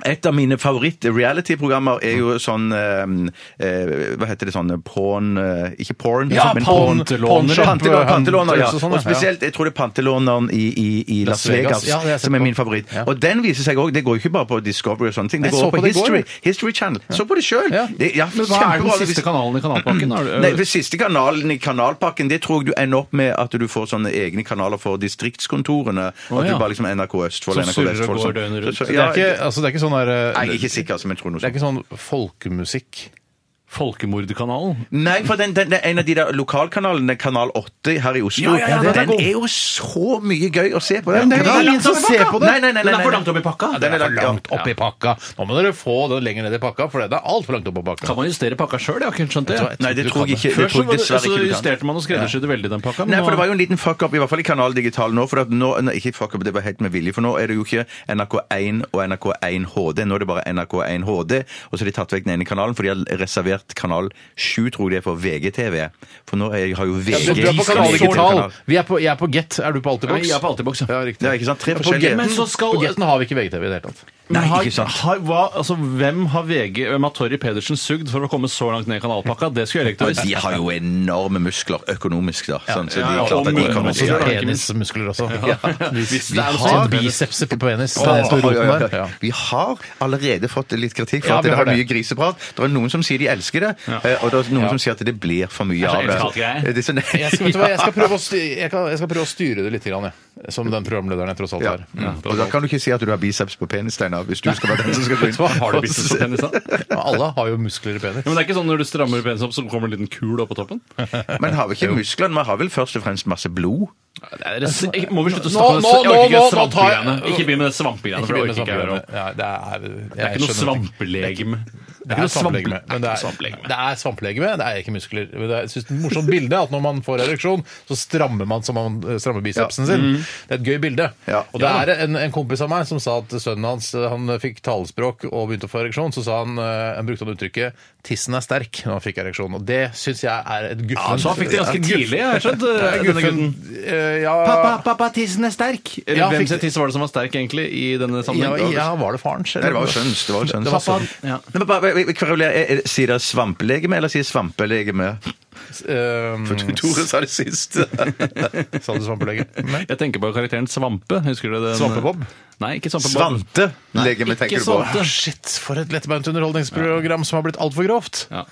et av mine favoritt-reality-programmer er jo sånn em, eh, Hva heter det sånn Porn eh, Ikke porn, Ja, men pawn- pantelåner. pawn- Pantelåner, pantelåner, ja. Sånn, ja. Og spesielt, jeg tror det er pantelåneren i, i, i Las Las Vegas. Vegas, Ja, det har jeg sett som er på. min favoritt. Ja. Og den viser seg òg. Det går jo ikke bare på Discovery og sånne ting. Det Jeg går så også på på det i går, History, History Channel. Så på det sjøl! Ja. Ja, Men hva er kjempebra. den siste kanalen i kanalpakken? Er det- Mm. Nei, for siste kanalen i kanalpakken, det tror jeg du ender opp med at du får sånne egne kanaler for distriktskontorene. Å, At ja. du bare liksom NRK Østfold, Som NRK surrer og Vestfold. går sånn. døgnet rundt. Så- så- Det ja, er ikke, altså, det er ikke sånn der eh, Nei, jeg er ikke sikker, altså, men jeg tror noe Det er sånt. ikke sånn folkemusikk. Folkemordkanalen? Nei, for den, den, den, en av de der lokalkanalene, Kanal 8 her i Oslo, Ja, ja, ja, den er den, god. er jo så mye gøy å se på. Den, det er ingen som ser på den. Nei, nei, nei, nei, Den er for nei. langt opp i pakka. Den er for langt, ja. langt opp i pakka. Nå må dere få det lenger ned i pakka, for det er altfor langt opp i pakka. Kan man justere pakka sjøl? Jeg har ikke helt skjønt det. Jeg tror- Nei, det tror jeg ikke. Før Det så, tror var det, jeg så dessverre ikke du kan. justerte man og skreddersydde veldig den pakka. men Nei, nå- for det var jo en liten fuck-up, i hvert fall i Kanal Digital nå. for at nå, nei, Ikke fuck-up, det var helt med vilje, for nå er det jo ikke NRK1 og NRK1 HD. Nå er det bare NRK1 HD, og så har de tatt vekk den ene kanalen, for de har reservert kanal 7, tror jeg det er, for VGTV. For nå er, har jo VG Ja, du er på Kanal som Digital. digital. Vi er på, jeg er på Get. Er du Nei, på Altibox? jeg er på Altibox, ja. Ja, riktig. Ja, ikke sant? Tre På forskjellige. Getten- Men så skal- På Getten har vi ikke VGTV i det hele tatt. Nei, har, ikke sant. Har, hva, altså, hvem har VG, hvem har Torry Pedersen sugd for å komme så langt ned i kanalpakka? Det skulle jeg likt å Og de vite. har jo enorme muskler økonomisk, da. Sånn, så de ja, ja, klarte at og de kommer også til der. ja. penismuskler også. Hvis Vi det er noe har sånt. bicepser på penis. Det Oi, er oi, oi, roten oi. der. Ja. Vi har allerede fått litt kritikk for Ja, at vi det har er det. mye griseprat. Det er noen som sier de elsker det, eh, og det er noen som sier at det blir for mye så av det. elsker-hat-greier. Det er sånn- Jeg skal, vet du hva, jeg, skal prøve å styre, jeg, kan, jeg skal prøve å styre det litt, grann, jeg. som den programlederen jeg tross alt Ja. er. Mm. Og da kan du ikke si at du har biceps på penis, Steinar, hvis du skal være den som skal gå inn. Har du biceps på penis, da? Ja, Alle har jo muskler i penis. men det er ikke sånn når du strammer penis opp, så kommer det en liten kul opp på toppen? Men har vi ikke musklene? Man har vel først og fremst masse blod? Nei, det er- jeg- Må vi slutte å Nå- snakke om nå- det? Jeg orker nå- ikke nå tar jeg- svampegreiene. Ikke begynn med det svampegreiene, for det orker ikke jeg å høre om. Ja, det er, jeg Det er ikke noe skjønner svampelegeme. Det er ikke noe svampelegeme. men Det er svampelegeme. det er svampelegeme, det er ikke muskler. Men det er, jeg synes det er et morsomt bilde at når man får ereksjon, så strammer man som man eh, strammer bicepsen sin. Det er et gøy bilde. Ja. Og det er en, en kompis av meg som sa at sønnen hans eh, han fikk talespråk og begynte å få ereksjon. Så sa han, eh, han brukte han uttrykket 'tissen er sterk' når han fikk ereksjon. Og det syns jeg er et guffen Ja, så han fikk det ganske et guff- tidlig, jeg har skjønt. eh, et denne guffen- gutten. eh, ja, Pappa, pappa, tissen er sterk! Eller Ja, hvem fikk sin det. tiss var det som var sterk, egentlig, i denne ja, sammenhengen? ja, var det faren sin? Nei, det var jo sønns. Det var jo sønns. Det var Pappa, sønnen. ja. Men bare, vi- vi eh, kverulerer. Er- er- Sier dere svampelegeme eller sier svampelegeme? Ehm, Tore sa det sist. Sa du svampelege? Nei. Jeg tenker på karakteren Svampe. Husker du den? Svampebob? Nei, ikke Svampebob. Svante. Legeme tenker Ikke du på. Svante. Shit, for et lettbeint underholdningsprogram som har blitt altfor grovt. Ja.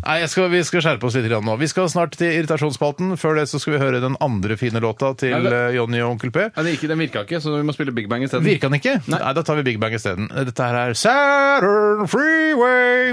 Nei, jeg skal, Vi skal skjerpe oss litt grann nå. Vi skal snart til irritasjonsspalten. Før det så skal vi høre den andre fine låta til Nei, det- eh, Jonny og Onkel P. Ja, den, gikk- den virka ikke, så vi må spille Big Bang isteden. Virka den ikke? Nei. da tar vi Big Bang isteden. Dette her er Saturn Freeway.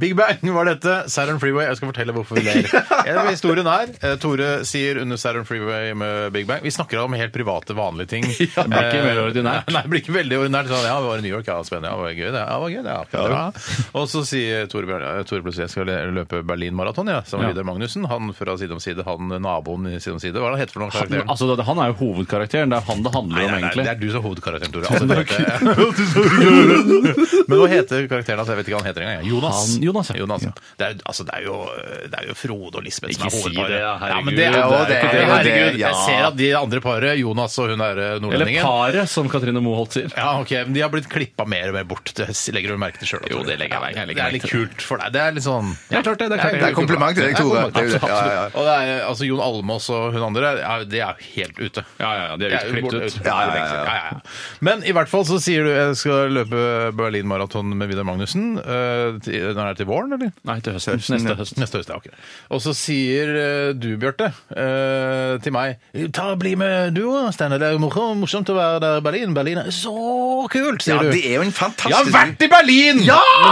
Big Bang var dette. Saturn Freeway. Jeg skal fortelle hvorfor vi ler. Eh, Historien er eh, Tore sier under Saturn Freeway med Big Bang Vi snakker om helt private, vanlige ting. Ja, det blir ikke Eh, mer ordinært. Nei, det blir ikke veldig ordinært. Sånn, ja, vi var i New York, ja, spennende. Ja, det var gøy, det. Ja, det var gøy, det. Ja, det var. Og så sier Tore Bjørn ja, Tore plutselig jeg skal løpe Berlin-maraton, ja, sammen med Ja. Vidar Magnussen. Han fra Side om Side, han naboen i Side om Side. Hva er det han heter for noen Han, karakterer? altså, det- han er jo hovedkarakteren. Det er han det handler Nei, om, nei, nei, egentlig. det er du som er hovedkarakteren, Tore. Altså, det heter... Men hva heter karakteren hans? Jeg vet ikke hva han heter engang. jeg. Jonas. Han- Jonas, ja. ja. Det, er, altså, det, er jo, det er jo Frode og Lisbeth som Ikke er si hovedparet. det, ja, herregud. men det er jo Ja, det. det er er- jo det, herregud. ja. Jeg ser at de andre paret, Jonas og hun er Eller nordlendingen paret, som Katrine Moholt sier. ja, ok, men De har blitt klippa mer og mer bort. Det legger du merke til sjøl? Jo, det legger jeg merke- jeg legger Det er merke litt til kult for deg. Det er litt sånn Ja, klart det. Det er, klart Det Det er kompliment til deg, Tore. Det er jo det. Ja, ja, ja. Og det er, altså, Jon Almaas og hun andre, ja, de er jo helt ute. Ja, ja, ja, de er Det er jo utklippet borte- ut. ut- Men i hvert fall så sier du jeg skal løpe Berlin-maraton med Vidar Magnussen. eh, til- Når er det til våren, eller? Nei, til høsten. Neste høst. Neste høst, ja. ok. Og så sier eh, du, Bjarte, eh, til meg Ta Bli med du òg, Steinar. Det er jo morsom- morsomt å være der i Berlin. Berlin er så kult, sier Ja, du. det er jo en Jeg har fantastisk vært i Berlin! Men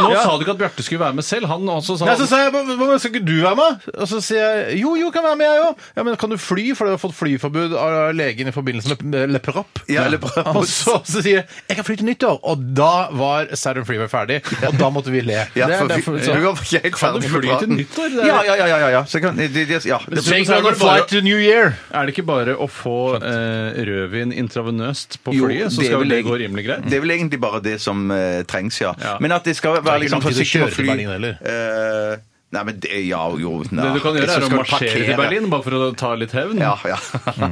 nå Ja! sa du ikke at Bjarte skulle være med selv. Han også sa Nei, så sa jeg, «Hva- hva- Skal ikke du være med? Og så sier jeg jo, jo, kan være med, jeg òg. Ja, men kan du fly? For du har fått flyforbud av legen i forbindelse med Leperop. Ja, Le Perrop. Og så, så sier jeg jeg kan fly til nyttår. Og da var Saturn Freeway ferdig, og da måtte vi le. Ja, Det er for vi, derfor- så- vi var ikke helt Kan du ferdig med fly til praten. nyttår? Det er- Ja, ja, ja. ja, ja. Så kan, det, det, ja. Det, Take Så er det Flight to New Year. Er det ikke bare å få eh, rødvin intravenøst på Jo, flyet, så det er skal vel vel det egen- gå rimelig greit? det er vel egentlig bare det som eh, trengs, ja. Ja. Men at det skal er være ikke liksom lang tid å forsiktig med kjøre til fly Berlin heller. Eh, nei, men det, ja, jo nei. Det du kan gjøre, Så er å skal du marsjere parkere. til Berlin, bare for å ta litt hevn. Ja, ja.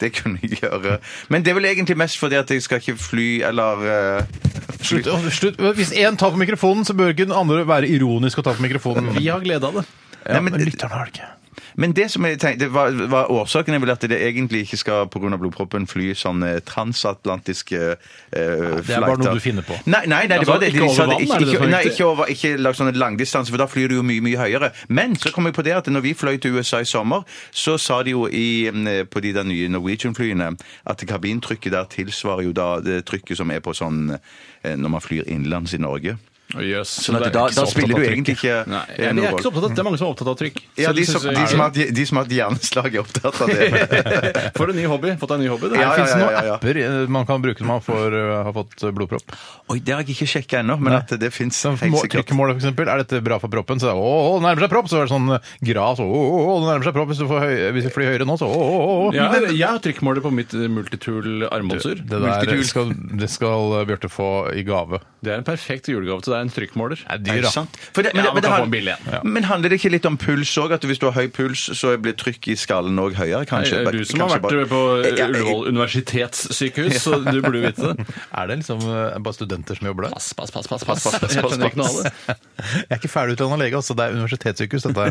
det kunne jeg gjøre. Men det er vel egentlig mest fordi at jeg skal ikke fly eller eh, fly. Slutt, å, slutt. Hvis én tar på mikrofonen, så bør ikke den andre være ironisk og ta på mikrofonen. Vi har glede av det. ja, Nei, men- men lytterne har det ikke. Men det som jeg tenkte, var, var årsaken er vel at det egentlig ikke skal på grunn av blodproppen fly sånn eh, transatlantiske eh, flighter. det er bare noe du finner på. Nei, nei, nei det Altså, var det. ikke over sa vann, det, er det det ikke, som er nei, viktig? ikke, over, ikke lag sånne langdistanse, for da flyr du jo mye, mye høyere. Men så kom jeg på det at når vi fløy til USA i sommer, så sa de jo i, eh, på de der nye Norwegian-flyene at kabintrykket der tilsvarer jo da det trykket som er på sånn eh, når man flyr innenlands i Norge. Å, Jøss. Sånn at da, da spiller du egentlig ikke Nei, eh, jeg, noe er ikke så opptatt rolle. av, det er mange som er opptatt av trykk. Ja, Selv de som, synes jeg- de, som har, hatt- de som har hatt hjerneslag, er opptatt av det. For en ny hobby. Fått deg en ny hobby. Det Ja, Det ja, finnes ja, noen ja, ja. apper eh, man kan bruke når man får, eh, har fått eh, blodpropp. Oi, det har jeg ikke sjekka ennå, men at det fins Så må- Trykkemålet, for eksempel. Er dette bra for proppen? Så er det, å, å, det nærmer seg propp! Så er det sånn eh, graf. Å, å, å, det nærmer seg propp hvis du, får høy, hvis du flyr høyere nå, så å, å, å. Ja, jeg har trykkmåler på mitt eh, multitool armbåndsur. Det der skal, det skal eh, Bjarte få i gave. Det er en perfekt julegave til deg, en trykkmåler. Det er Er dyr, det da. sant? For det- men Ja, det- men man det kan han- få en billig en. Men handler det ikke litt om puls òg? At hvis du har høy puls, så blir trykket i skallen òg høyere? Kanskje, Eh, Du som har Kanskje vært bare- på Ja, jeg- Ullevål universitetssykehus, så du burde jo vite det. Er det liksom eh, bare studenter som jobber der? Pass, pass, pass, pass, pass, pass, pass, pass, pass, pass. Jeg er ikke ferdig utdanna lege, altså. Det er universitetssykehus, dette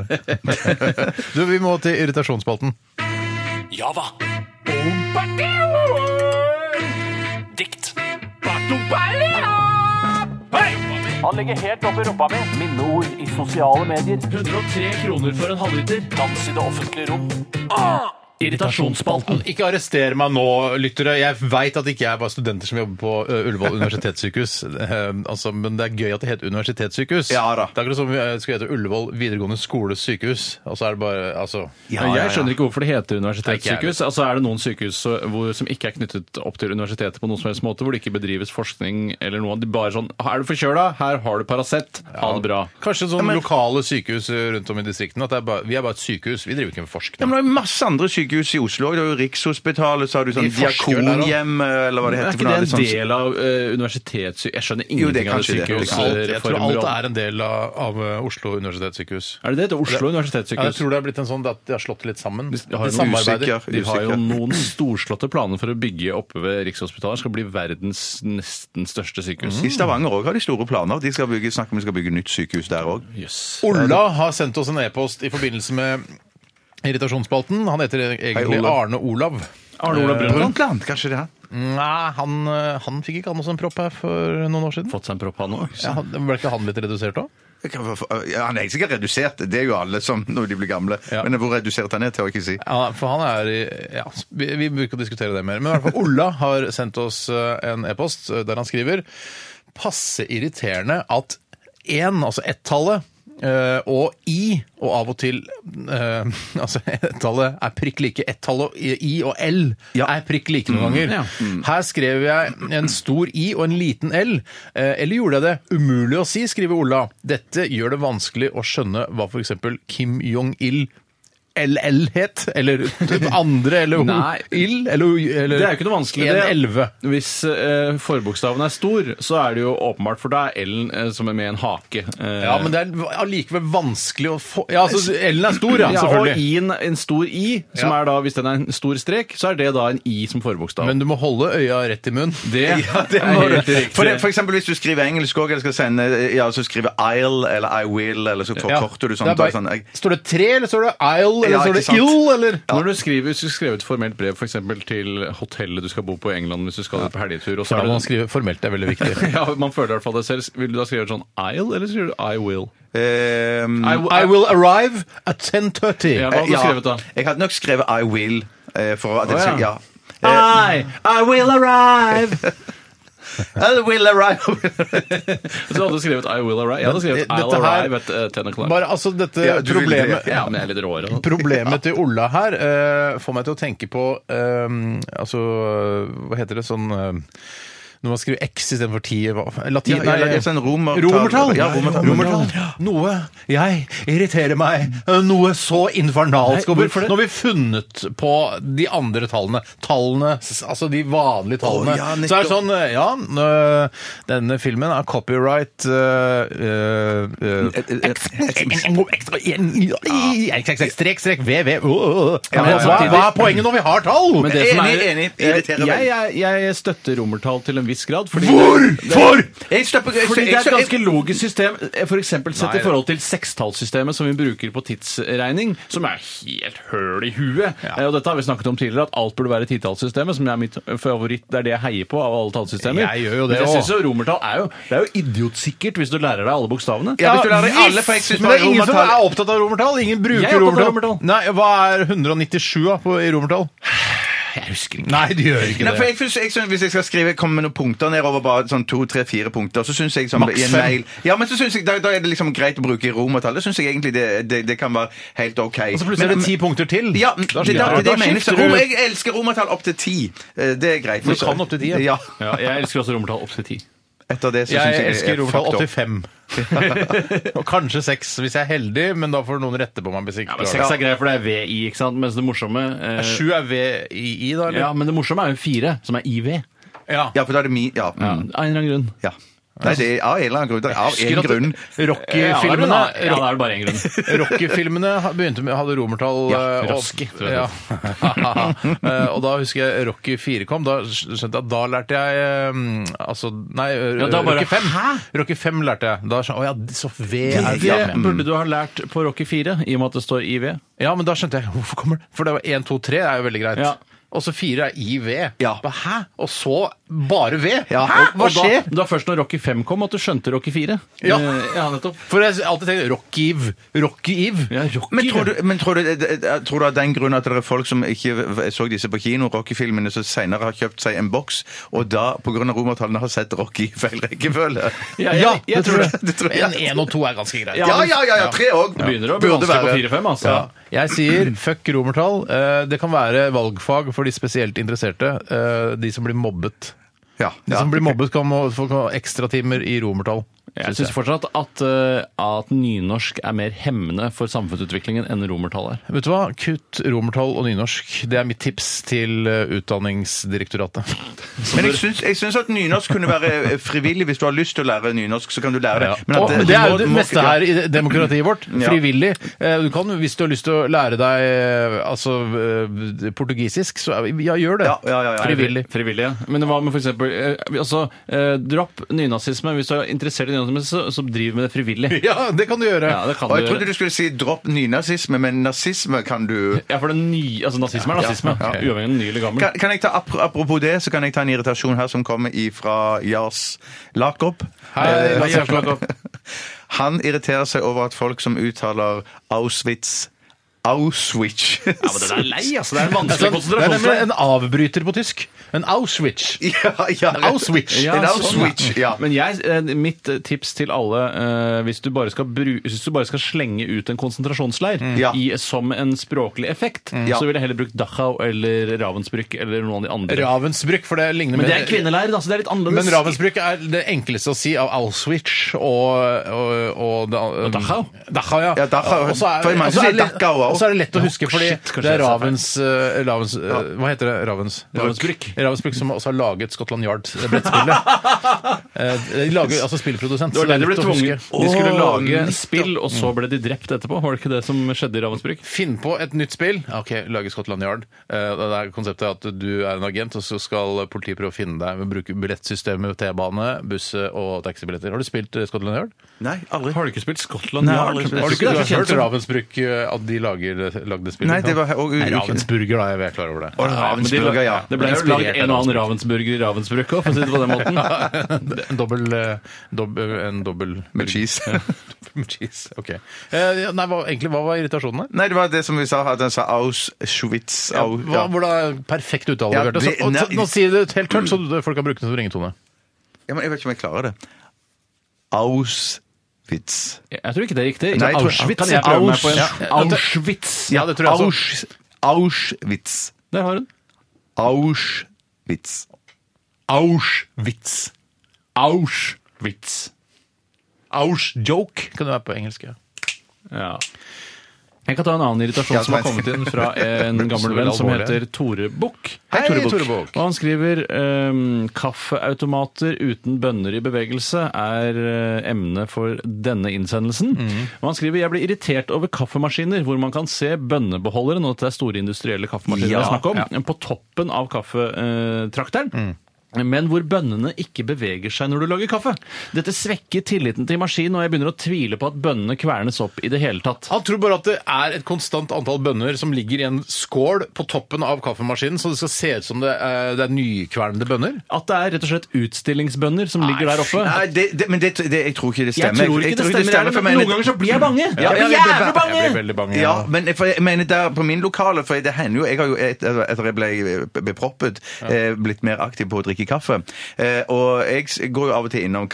her. du, vi må til irritasjonsspalten. Java. Dikt. Han ligger helt oppi rumpa mi. Minneord i sosiale medier. 103 kroner for en halvliter. Dans i det offentlige rom. Irritasjonsspalten. Ikke arrester meg nå, lyttere. Jeg veit at det ikke er bare studenter som jobber på ø, Ullevål universitetssykehus. Eh, altså, men det er gøy at det heter universitetssykehus. Ja da. Det er akkurat som vi ø, skulle hete Ullevål videregående skole sykehus. Og så er det bare altså Ja, ja, ja. Jeg skjønner ikke hvorfor det heter Nei, ikke jeg universitetssykehus. Altså, er det noen sykehus så- hvor, som ikke er knyttet opp til universitetet på noen som helst måte, hvor det ikke bedrives forskning eller noe? De bare sånn Er du forkjøla? Her har du Paracet. Ha det bra. Kanskje sånne lokale sykehus eh, rundt om i distriktene. At det er bare, vi er bare et sykehus, vi driver ikke med Ja, forskning. men det er jo masse andre sykehus i Oslo. Det er jo Rikshospitalet, så har du sånn De forsker der også. Diakonhjem, eller hva det Er heter. ikke det en for noe, sånn- del av uh, universitetssykehus? Jeg skjønner Jo, det er ingenting av det kanskje det. Det er kanskje Alt, jeg tror alt sykehusreformer. er en del av, av ø, Oslo universitetssykehus. Er det det? Det er Oslo Ja, jeg universitetssykehus? tror det er blitt en sånn at de har slått det litt sammen. De har De jo noen samarbeider. usikker. De har jo noen storslåtte planer for å bygge oppe ved Rikshospitalet. Skal bli verdens nesten største sykehus. sånn- I Stavanger òg har de store planer. De skal bygge, snakker om de skal bygge nytt sykehus der òg. Jøss. Ola har sendt oss en e-post i forbindelse med Irritasjonsspalten. Han heter egentlig Hei, Olav. Arne Olav. Arne Olav Brundtland Brundtland, Eh, kanskje det? Nei, han, eh, han fikk ikke han også en propp her for noen år siden? fått seg en propp, han òg. Ja, han- ble ikke han litt redusert òg? Jeg kan få- få- ja, Han er sikkert redusert, det er jo alle som når de blir gamle. Ja. Men hvor redusert han er, tør jeg ikke si. Ja, for han er i ja, Vi vi bruker å diskutere det mer. Men i hvert fall Ola har sendt oss eh, en e-post eh, der han skriver passe irriterende at én, altså ett-tallet, eh, og i, og av og til eh, Altså, ett-tallet er prikk like. Ett-tallet og i i og l er prikk like noen ganger. ja. Her skrev jeg en stor i og en liten l. Eh, Eller gjorde jeg det? Umulig å si, skriver Ola. Dette gjør det vanskelig å skjønne hva f.eks. Kim Jong-il LL het, eller andre, eller Nei. ild, eller, eller Det er jo ikke noe vanskelig. En det. elve. Hvis eh, forbokstaven er stor, så er det jo åpenbart, for da er L-en eh, som er med en hake. eh, Ja, men det er allikevel vanskelig å få Ja, altså, L-en er stor, ja, ja, og selvfølgelig. i-en, en stor i, som Ja. er da, hvis den er en stor strek, så er det da en i som forbokstav. Men du må holde øya rett i munnen. det, er må du. helt riktig. For, det, for eksempel hvis du skriver engelsk òg, eller skal sende øh, Ja, så skriver I'll eller I will, eller så forkorter du Det sånn. er da bare- er sånn jeg, Står det tre, eller står det isle, eller Ja, står ikke det sant. ill, eller Når du skriver, Hvis du skriver et formelt brev for eksempel, til hotellet du skal bo på i England hvis du skal ut på helgetur og så Da er må man det, skrive formelt, det er veldig viktig. ja, Man føler i hvert fall det selv. Vil du da skrive sånn I'll, eller skriver du I will? ehm, I, will- I will arrive at 10.30. Ja, hva hadde du ja, skrevet da? Jeg hadde nok skrevet I will. eh, For at det, Å, ja. ja. Eh, I will arrive! Eh, I will arrive. Så hadde du skrevet I will arrive. Jeg hadde skrevet Eh, Dette I'll her- arrive at eh, 10 o'clock. Bare altså dette Ja, du ville det, problemet Ja, men jeg er litt råere. da. Problemet til Ola her eh, får meg til å tenke på eh, Altså, hva heter det sånn eh, Når man skriver X istedenfor 10 hva- Latin Ja, ja, ja, sånn romertall. romertall. Ja, romertall. Romertall. Noe jeg irriterer meg. Noe så infernalsk. Nei, over. hvorfor det? Når vi funnet på de andre tallene, tallene, s- altså de vanlige tallene, Å, ja, nettopp. så er det sånn eh, Ja, øh, denne filmen er copyright øh, øh, øh, Strek, strek, VV men Hva samtidig- hva er poenget når vi har tall? Men det som Enig, er, enig. Jeg, Irriterer meg. jeg, jeg støtter romertall til en viss grad. Fordi Hvorfor?! Jeg stopper, jeg, Fordi det er jeg- et ganske logisk system, f.eks. sett Nei. i forhold til sekstallssystemet som vi bruker på tidsregning, som er helt høl i huet. Eh, Og dette har vi snakket om tidligere, at alt burde være titallssystemet, som er mitt favoritt. Det er det jeg heier på av alle tallsystemer. Jeg gjør jo det Men også. jeg synes jo romertall er jo, det er jo idiotsikkert hvis du lærer deg alle bokstavene. Ja, hvis du lærer alle, for jeg synes men det er bare ingen som romertall- er opptatt av romertall. Ingen Jeg bruker er opptatt romertall. av romertall. Nei, Hva er 197 da på, i romertall? Jeg husker ikke. Nei, det gjør ikke Nei, for jeg, synes, jeg synes, Hvis jeg skal skrive komme med noen punkter nedover, bare sånn to, tre, fire punkter, så syns jeg som, Maks i en fem. mail Ja, men så synes jeg, da, da er det liksom greit å bruke i romertall. Det syns jeg egentlig det, det, det kan være helt OK. Og så plutselig er det ti punkter til. Ja, det, er skifter det, du. det, jeg mener. Så skifter du. rom, jeg elsker romertall opp til ti. Eh, Det er greit. Du kan opp til ti, ja. ja. Ja, jeg elsker også romertall opp til ti. Etter det så syns Jeg jeg elsker romertall fucked up. 85. Og kanskje 6 hvis jeg er heldig, men da får noen rette på meg. hvis jeg ikke Men klarer seks er greit, for det er VI, ikke sant? Mens det morsomme eh, det. 7 er VII, Ja, da? eller? men det morsomme er jo fire, som er IV. Ja. Ja, for da er det mi... Ja. Ja, Mm, Av en eller annen grunn. ja. Nei, det er av en eller annen grunn. Det er av Husker en at- grunn. Ja, da er det Rocky-filmene bare- ja, da er det bare én grunn. Rocky-filmene begynte med, hadde romertall Ja, eh, Rocky, og, tror jeg ja. Eh, og da husker jeg Rocky 4 kom. Da skjønte jeg at da lærte jeg eh, Altså, nei, Ja, da bare, Rocky 5. hæ? Rocky 5 lærte jeg. Da skjønte, å, ja, så V er Er det, ja. Det burde du ha lært på Rocky 4, i og med at det står IV. Ja, men da skjønte jeg hvorfor kommer det? For det var 1, 2, 3 er jo veldig greit. Ja. Og så 4 er IV. Ja. Hva, Hæ? Og så bare ved. Ja, Hæ? og- Hva Og da- skjer? Det var først når Rocky 5 kom at du skjønte Rocky 4. Ja. Eh, ja nettopp. For jeg har alltid tenkt Rocky Eve. Rocky Eve. Ja, Rocky, Men tror ja. du, men tror du, eh, tror du av den grunn at det er folk som ikke så disse på kino, Rocky-filmene, som senere har kjøpt seg en boks, og da pga. romertallene har sett Rocky i feil rekkefølge? Ja, jeg- jeg tror det. Det tror jeg. En én og to er ganske greit. Ja, ja, ja, ja tre òg. Det begynner å bli vanskelig på 4-5, altså. Ja. Jeg sier fuck romertall. Eh, Det kan være valgfag for de spesielt interesserte. eh, De som blir mobbet. Ja, De ja. som blir mobbet, kan må- få få ekstratimer i romertall. Jeg synes syns fortsatt at, eh, at nynorsk er mer hemmende for samfunnsutviklingen enn romertall er. Vet du hva? Kutt romertall og nynorsk. Det er mitt tips til eh, Utdanningsdirektoratet. Men jeg syns, jeg syns at nynorsk kunne være eh, frivillig. Hvis du har lyst til å lære nynorsk, så kan du lære det. Men at Og det er jo må- det må- meste her i demokratiet vårt. Ja. Frivillig. Eh, Du kan, hvis du har lyst til å lære deg eh, altså, eh, portugisisk, så er- ja, gjør det. Ja, ja, ja, ja. Frivillig. Frivillig, ja. Men hva med for eksempel eh, altså, eh, Dropp nynazisme. Hvis du er interessert i nynazisme, så, så driv med det frivillig. Ja, det kan du gjøre. Ja, det kan Og jeg du trodde du skulle si dropp nynazisme, men nazisme kan du Ja, for det nye, altså Nazisme er nazisme, ok. uavhengig av ny eller gammel. kan, kan jeg ta, apro- Apropos det, så kan jeg ta en irritasjon her som kommer ifra Jars Lakob. Hei, Lars Jars Lakob. Han irriterer seg over at folk som uttaler Auschwitz Auschwitz. Ja, men Den er lei, altså! Det er en vanskelig Sånn, det er konsentrasjon. nemlig en avbryter på tysk. En Auschwitz. ja, ja. En Auschwitz. Ja, En sånn, Auschwitz, ja. Men jeg, eh, mitt eh, tips til alle eh, hvis, du bare skal bru, hvis du bare skal slenge ut en konsentrasjonsleir Ja. i, som en språklig effekt, Ja. så ville jeg heller brukt Dachau eller Ravensbrück eller noen av de andre. Ravensbrück, for det ligner Men det mer- er kvinneleir, da, så det er litt annerledes. Men Ravensbrück er det enkleste å si av Auschwitz og, og, og, og Dachau? Dachau, ja. Ja, Dachau. Og så er, For mange og så sier er det lett- Dachau også. og så er det lett å huske, fordi shit, kanskje det er jeg sa feil. Ravens, eh, Ravens eh, Hva heter det? Ravens? Ravensbrück. Ravensbrück som også har laget Scotland Yard-brettspillet. Eh, de lager altså spillprodusent. Det var så der de ble lett å huske. tvunget. De skulle Åh, lage spill, og så ble de drept etterpå. Var det ikke det som skjedde i Ravensbrück? Finn på et nytt spill. Ok, lage Scotland Yard. Eh, Det er konseptet at du er en agent, og så skal politiet prøve å finne deg ved å bruke billettsystemet, T-bane, buss og taxibilletter. Har du spilt eh, Scotland Yard? Nei, aldri. Har du ikke spilt Skottland? Nei, aldri spilt. Har du Jeg ikke du har tror ikke det er så hørt kjent. Ravensbrück, eh, at de lager, lagde spillet? Nei, det var og- Nei, og- Ravensburger, da. Jeg er klar over det. og Ravensburger, ja. Det ble Inspirert laget en og av annen ravensburger i Ravensbrück òg, for å si det på den måten. en dobbel, eh, dobb- en dobbel Med cheese. Med cheese. Ok. Eh, ja, Nei, hva, egentlig, hva var irritasjonen her? Nei, det var det som vi sa, at han sa Auschwitz. Ja, Au, hva, ja. hvordan Perfekt uttale, Ja, Bjarte. det- Så- og så- nei- Nå sier du det helt tørt, så folk kan bruke det som ringetone. ja, men jeg vet ikke om jeg klarer det. Auschwitz. Jeg tror ikke det er riktig. Nei, jeg tror- Auschwitz. Kan Kan jeg jeg prøve meg Aus, på en? ja. Auschwitz. Ja, det tror jeg også. Ausch, Auschwitz. Der har hun. Auschwitz. Auschwitz. Auschwitz. Ausch-joke kan det være på engelsk. ja. Ja. Jeg kan ta en annen irritasjon Ja, som har Svein. kommet inn fra en Så gammel veldig venn som alvorlig. heter Tore Bukk. Hei, Tore Og Bukk. han skriver ehm, kaffeautomater uten bønner i bevegelse er eh, emne for denne innsendelsen. Mhm. Og han skriver jeg blir irritert over kaffemaskiner hvor man kan se bønnebeholderen, og at det er store industrielle kaffemaskiner det er snakk om, på toppen av kaffetrakteren. Mm. Men hvor bønnene ikke beveger seg når du lager kaffe. Dette svekker tilliten til maskinen, og jeg begynner å tvile på at bønnene kvernes opp i det hele tatt. Han tror bare at det er et konstant antall bønner som ligger i en skål på toppen av kaffemaskinen, så det skal se ut som det er, det er nykvernede bønner. At det er rett og slett utstillingsbønner som ligger der oppe. Nei, det, det, men det, det, jeg tror ikke det Jeg stemmer. tror ikke det stemmer, for men jeg noen mener- ganger så blir jeg bange. jeg Ja, blir jeg blir jævlig ba- bange! Jeg blir veldig bange. Ja, men jeg- for jeg mener der på min lokale, for det hender jo Jeg har jo et- etter jeg ble beproppet, eh, blitt mer aktiv på å drikke kaffe. Eh, Og jeg s- går jo av og til innom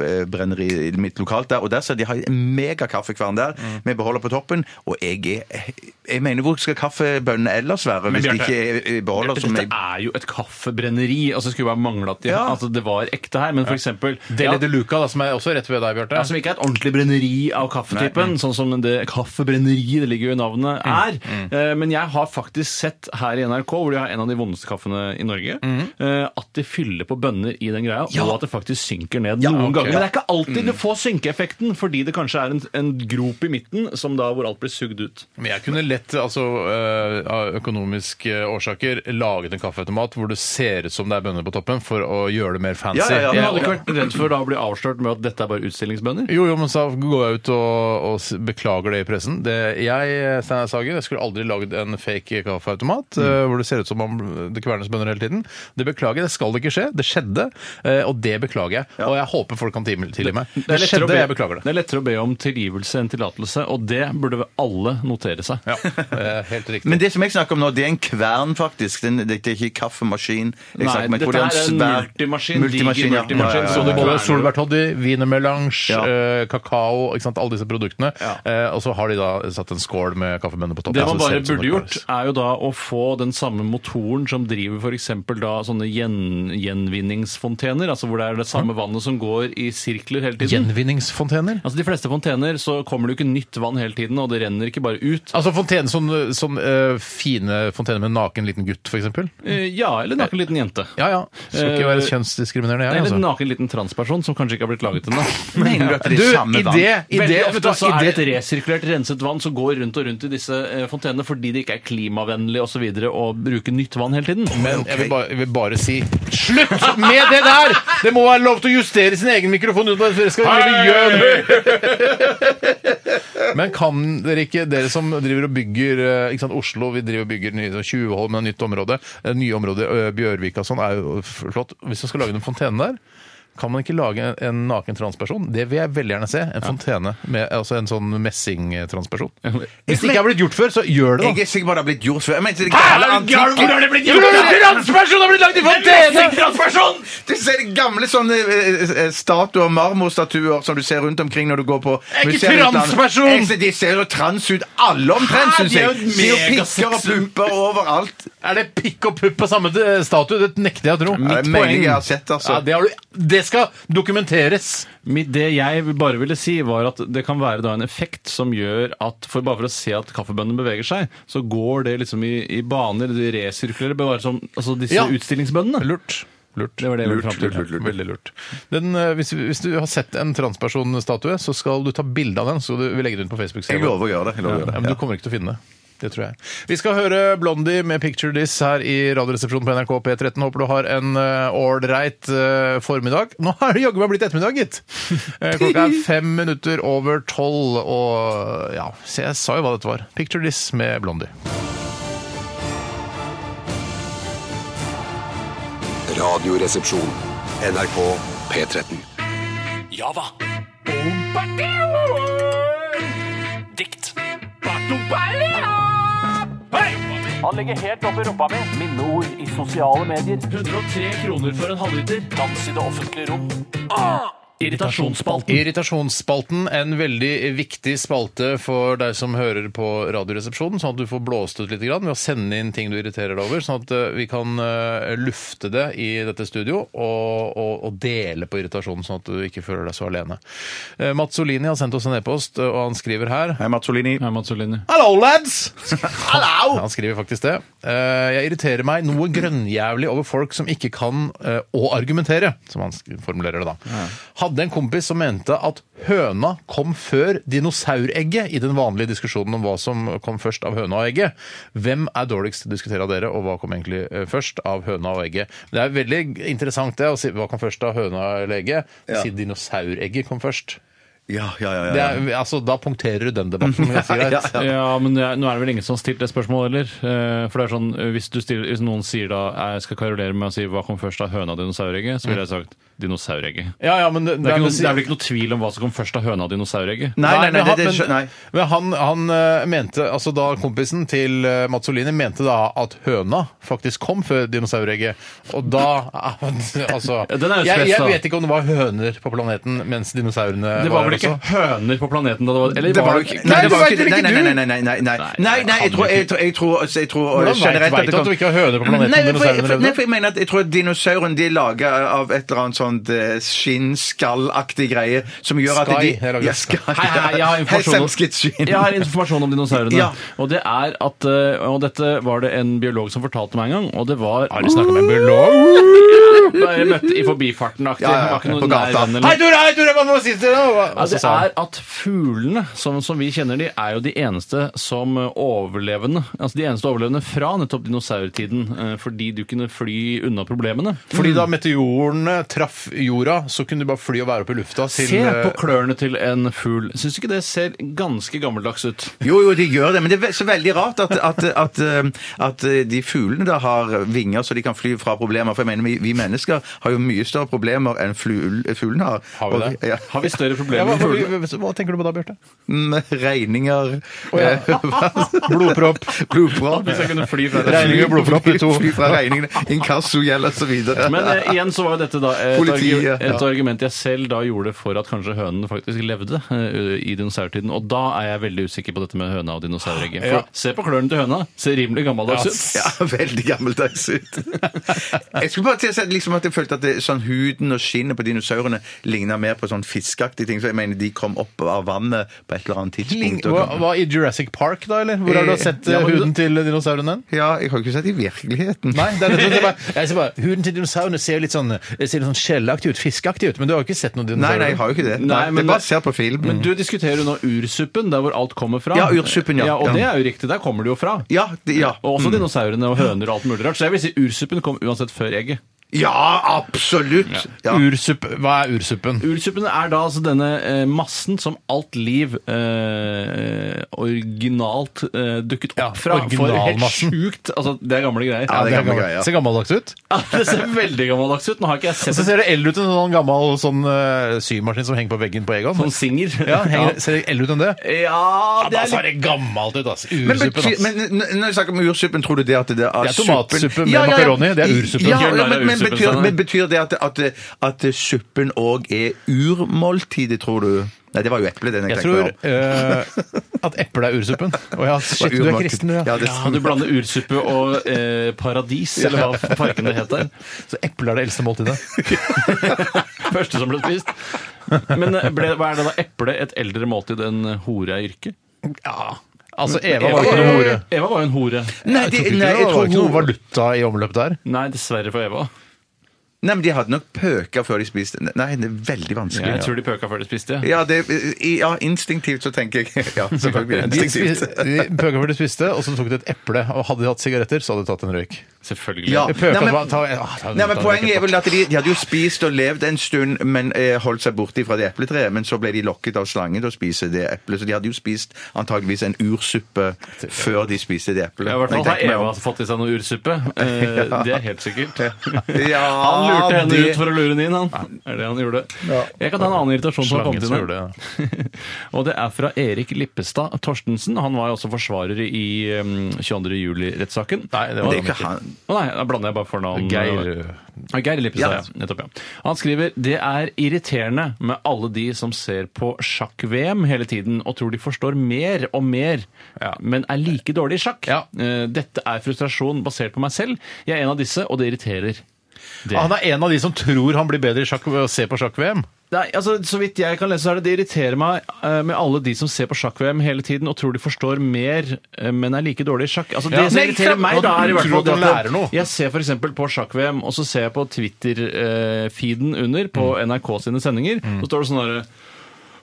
kaffebrenneriet i mitt lokalt der, og der ser de har en megakaffekvern der Mm. med beholder på toppen, og jeg er Jeg mener, hvor skal kaffebønnene ellers være hvis det Bjarte, ikke er er beholder som Dette er jo et kaffebrenneri. altså Det skulle bare mangle at de, Ja. altså, det var ekte her, men for eksempel Dele ja, de Luca, da, som er også rett ved deg, Bjarte. ja, Altså- Som ikke er et ordentlig brenneri av kaffetypen, sånn som det kaffebrenneriet det ligger jo i navnet er. Eh, Men jeg har faktisk sett her i NRK, hvor de har en av de vondeste kaffene i Norge, eh, at de fyller på bønner i den greia, og at det faktisk synker ned noen ok. ganger. Men det er ikke alltid du får synkeeffekten, fordi det kanskje er en, en grop i midten som da hvor alt blir sugd ut. Men jeg kunne lett, altså øh, av økonomiske årsaker, laget en kaffeautomat hvor det ser ut som det er bønner på toppen, for å gjøre det mer fancy. Ja, ja, ja. Men Jeg- hadde du ikke vært redd for da å bli avslørt med at dette er bare utstillingsbønner? Jo, jo, men så går jeg ut og, og s- beklager det i pressen. Det, jeg Steinar Sagen, jeg skulle Mm. aldri lagd en fake kaffeautomat eh, hvor det ser ut som om det kvernes bønner hele tiden. Det beklager jeg, det skal skal ikke skje. Det skjedde, eh, og det beklager jeg. Og jeg håper folk kan tilgi tilgi meg. Det, er lettere å skjedde, be- jeg beklager det. Det er lettere å be om tilgivelse enn tillatelse, og det burde vel alle notere seg. Ja, eh, helt riktig. Men det som jeg snakker om nå, det er en kvern, faktisk. Den- Det det er ikke kaffemaskin. Jeg Nei, snakker om- jeg dette tror det her er en svær- multimaskin, diger ja. multimaskin, Ja, ja, ja, så Så ja, du ja. må- både solbærtoddy, wienermelange, Ja. eh, kakao, ikke sant? alle disse produktene. Eh, og så har de da satt en skål med kaffebønner på toppen. Det man så ser bare ut som burde det gjort, klares. er jo da å få den samme motoren som driver f.eks. da sånne gjen, gjenvinningsfontener, altså hvor det er det samme vannet som går i sirkler hele tiden. Gjenvinningsfontener? Altså De fleste fontener så kommer det jo ikke nytt vann hele tiden, og det renner ikke bare ut. Altså fontene, sånn, sånn eh, fine fontener med en naken liten gutt, for eksempel? Eh, Ja, eller naken liten jente. Ja ja. Skal ikke være Eh, kjønnsdiskriminerende, jeg, Eller en altså. naken liten transperson som kanskje ikke har blitt laget ennå. Mener du at det er samme vann? i Veldig det- ofte så i er det det- et resirkulert, renset vann som går rundt og rundt i disse eh, fontenene fordi det ikke er klimavennlig osv. å bruke nytt vann hele tiden. Men jeg vil bare, jeg vil bare si slutt med det der! Det må være lov til å justere sin egen mikrofon. uten at dere skal gjøre det. Men kan dere ikke, dere som driver og bygger eh, ikke sant, Oslo, vi driver og bygger nye- sånn Tjuvholmen er nytt område. eh, Nye områder, eh, Bjørvika og sånn, er jo flott. Hvis man skal lage en fontene der kan man ikke lage en naken transperson? Det vil jeg veldig gjerne se. En fontene. Med, altså en sånn messingtransperson. Hvis det ikke er blitt gjort før, så gjør det, Jeg da. er sikker på at det har blitt gjort før. Jeg mener, det gamle antikke- det blitt gjort? Transperson har blitt lagd i fontene! Du ser de gamle sånne eh, eh, statuer, marmorstatuer, som du ser rundt omkring når du går på er ikke museer i utlandet. transperson! Jeg ser- De ser jo trans ut, alle omtrent, Hæ? syns De er jeg. jo De er jo pikker og megasexy. pumper overalt. Er det pikk og pupp på samme eh, statue? Det nekter jeg å tro. det er Mitt meningen poeng- jeg har sett, altså. Ja, det, har du, det skal dokumenteres. Mitt- Det jeg bare ville si, var at det kan være da en effekt som gjør at for Bare for å se at kaffebønnen beveger seg, så går det liksom i, i baner. De resirkulerer bare som altså disse Ja. utstillingsbøndene. Lurt. Lurt. Det var det jeg ville fram til. Veldig lurt. Den, eh, hvis, hvis du har sett en transpersonstatue, så skal du ta bilde av den. Så du, vi legger den ut på Facebook. Jeg lover å gjøre det. Jeg lover å gjøre Ja, det. men du kommer ikke til å finne det. Det tror jeg. Vi skal høre Blondie med 'Picture This' her i Radioresepsjonen på NRK P13. Håper du har en eh, ålreit eh, formiddag. Nå er det jaggu meg blitt ettermiddag, gitt! Eh, Klokka er fem minutter over tolv, og ja, så jeg sa jo hva dette var. 'Picture This' med Blondie. Radioresepsjon. NRK P13. Java. Dikt. Han legger helt opp i rumpa mi. Minneord i sosiale medier. 103 kroner for en halvliter. Dans i det offentlige rom. Ah! Irritasjonsspalten. Irritasjonsspalten, en veldig viktig spalte for deg som hører på Radioresepsjonen, sånn at du får blåst ut litt grann ved å sende inn ting du irriterer deg over, sånn at eh, vi kan eh, lufte det i dette studio og, og, og dele på irritasjonen, sånn at du ikke føler deg så alene. Eh, Mats Olini har sendt oss en e-post, eh, og han skriver her Hei, Mazzolini. Herman Solini. Hallo, lads! Hallo! Han skriver faktisk det. Eh, jeg irriterer meg noe grønnjævlig over folk som ikke kan eh, å argumentere, som han sk- formulerer det da. Hadde en kompis som mente at høna kom før dinosauregget i den vanlige diskusjonen om hva som kom først av høna og egget. Hvem er dårligst til å diskutere av dere, og hva kom egentlig eh, først av høna og egget? Det er veldig interessant det, å si hva kom først av høna eller egget. Si dinosauregget kom først. Ja, ja, ja. Det ja. er, altså, da punkterer du den debatten ganske greit. Ja, men det er, nå er det vel ingen som har stilt det spørsmålet heller. Eh, For det er sånn, eh, hvis, du stiller, hvis noen sier da jeg skal karolere med å si hva kom først av høna og dinosauregget, så ville jeg sagt dinosauregget. Ja, ja, men det, Det er, ikke noe, men- det er vel ikke noe tvil om hva som kom først av høna og dinosauregget? Nei, nei, nei, men det, det, han- skjø- nei. Men han, han eh, mente, altså da kompisen til eh, Mats Olini mente da at høna faktisk kom før dinosauregget. Og da Altså Ja, den er jo jeg, spes, jeg da. vet ikke om det var høner på planeten mens dinosaurene Det var vel ikke også. høner på planeten da det var Eller Det var jo det ikke ikke- Nei, det det vet var ikke vel Nei, ikke nei, du? nei. nei, nei, nei, nei. Nei, nei, jeg tror jeg tror- jeg tror, altså, jeg tror Hvordan vet- generelt vet du at du ikke har høner på planeten Nei, når du for- ser den for- levende? Nei, for jeg mener at jeg tror at dinosauren de er laga av et eller annet sånt eh, skinnskallaktig greie som gjør at Sky, de jeg lager Ja, det. Sky. Hei, hei, hei, jeg har informasjon om- Hei, Jeg har informasjon om dinosaurene. Ja. Og det er at eh, Og dette var det en biolog som fortalte meg en gang, og det var Har du snakket med en biolog? Nei, jeg møtte i forbifarten-aktig. Ja, ja, Han ja, var ikke på noen gata. nær venn eller- Hei, Tore! Hei, Tore! Hva må si til deg? Ja, Og Altså, så det sa han er at fuglene, sånn som vi kjenner de, er jo de eneste som eh, overlevende Altså de eneste overlevende fra nettopp dinosaurtiden, eh, fordi du kunne fly unna problemene. Fordi da meteorene traff jorda, så kunne du bare fly og være oppe i lufta til Se på eh, klørne til en fugl. Syns du ikke det ser ganske gammeldags ut? Jo, jo, de gjør det, men det er ve- så veldig rart at, at, at, eh, at eh, de fuglene da har vinger så de kan fly fra problemer. For jeg mener, vi, vi mennesker har jo mye større problemer enn flu- fuglene har. Har vi det? Og- Ja. Har vi større ja, problemer hva, med fugler? hva, hva tenker du på da, Bjarte? Mm, Regninger, eh, Blodpropp. blodpropp Hvis jeg kunne fly fra det. Regninger, blodpropp, de to. Fly fra regningene, inkasso, gjeld osv. Men eh, igjen så var jo dette da eh, et, Politiet, argu- et ja. argument jeg selv da gjorde for at kanskje hønene faktisk levde eh, i dinosaurtiden. Og da er jeg veldig usikker på dette med høna og dinosauregget. For Ja. se på klørne til høna. Ser rimelig gammeldags ut. Ja, veldig gammeldags ut. Jeg skulle bare til å si at liksom at jeg følte at det, sånn huden og skinnet på dinosaurene ligna mer på sånn fiskeaktige ting. Så jeg mener de kom opp av vannet på et eller annet Ling, tidspunkt. og- hva, hva I Jurassic Park, da? eller? Hvor har du sett eh, Ja, men du- huden til dinosauren den? Ja, jeg har ikke sett i virkeligheten. Nei, det er nettopp det. bare- Jeg ser bare, Huden til dinosaurene ser jo litt sånn, ser litt sånn skjellaktig ut, fiskeaktig ut, men du har jo ikke sett noen Nei, dinosaurer? nei, jeg har jo ikke det. Nei, Nei, men- det er bare ser på film. Men du diskuterer jo nå ursuppen, der hvor alt kommer fra. Mhm. Ja, ursuppen, ja. Og Ja. det er jo riktig, der kommer det jo fra. Ja, det, ja. Og også dinosaurene og høner og alt mulig rart. Så jeg vil si ursuppen kom uansett før egget. ja, absolutt! Ja. Ursupp, hva er ursuppen? Ursuppen er da altså denne eh, massen som alt liv eh, originalt eh, dukket opp Ja, fra. For helt originalmassen. sjukt. Altså, det er gamle greier. Ja, det er gamle gammel- greier. Ser gammeldags ut. Ja, det ser veldig gammeldags ut. Nå har ikke jeg Og sett så en ser det eld ut en sånn gammel sånn, eh, symaskin som henger på veggen på Egon. sånn singer. Ja, henger, Ser det eld ut enn det? Ja, det Da er ser litt det gammelt ut, ass. Men, Ursuppen, betyr, ass. men n- når jeg snakker om ursuppen, tror du det at det er Det er tomatsuppe med pepperoni, det er ursuppen. Ja, Ikke ja, gjør narr av men, men, ursuppen, betyr, Steinar. men betyr det at, at, at suppen òg er urmåltidet, tror du? Nei, det var jo eple, den jeg, Jeg tror tenkte på. eh, at eplet er ursuppen. Å ja, shit, du er Urmåltid. kristen, du, Ja, ja. det ja, Du blander ursuppe og eh, paradis, eller hva parken det heter. Så eplet er det eldste måltidet. Første som ble spist. Men eh, ble, hva er det da? Eple et eldre måltid enn hore er yrke? Ja. Altså, Eva var jo ikke noe hore. Eva var jo en hore. Nei, de, Jeg tror ikke nei, det jeg var tror ikke noe hun var... valuta i omløp der. Nei, dessverre for Eva. Nei, men de hadde nok pøka før de spiste. Nei, det er veldig vanskelig. Jeg tror de pøka før de spiste. Ja, det, i- ja, instinktivt så tenker jeg. Ja, selvfølgelig. De, Instinktivt. spiste, de pøka før de spiste, og så tok de et eple. Og hadde de hatt sigaretter, så hadde de tatt en røyk. Selvfølgelig. Ja. De pøka Nei, men- bare, ta, ah, ta, Nei, men ta- Poenget er vel at de, de hadde jo spist og levd en stund, men eh, holdt seg borte fra det epletreet. Men så ble de lokket av slangen til å spise det eplet, så de hadde jo spist antageligvis en ursuppe før de spiste det eplet. Ja, I hvert fall har Jeg tenker meg Eva om. fått i seg noe ursuppe. Eh, Det er helt sikkert. Ja, Han lurte henne det- ut for å lure henne inn, han. Er det han gjorde. Jeg kan ta en annen irritasjon som har Slangen kommet som inn. her. gjorde det. ja. Og det er fra Erik Lippestad Torstensen. Han var jo også forsvarer i um, 22. juli-rettssaken. Nei, det var Det er ikke han. Å nei, da blander jeg bare fornavn. Geir, Ja, Geir Lippestad, Ja. ja. Nettopp, ja. Han skriver det er irriterende med alle de som ser på sjakk-VM hele tiden og tror de forstår mer og mer, Ja. men er like dårlig i sjakk. Ja. Eh, Dette er frustrasjon basert på meg selv. Jeg er en av disse, og det irriterer. Det. Han er en av de som tror han blir bedre i sjakk ved å se på sjakk-VM. Nei, altså, Så vidt jeg kan lese, så er det det irriterer meg eh, med alle de som ser på sjakk-VM hele tiden og tror de forstår mer, eh, men er like dårlig i sjakk. Altså, Det Ja. som Nei, irriterer klart. meg, da, er i hvert Tror fall du at det at man lærer noe? jeg ser f.eks. på sjakk-VM, og så ser jeg på Twitter-feeden under, på Mm. NRK sine sendinger, så står det sånn derre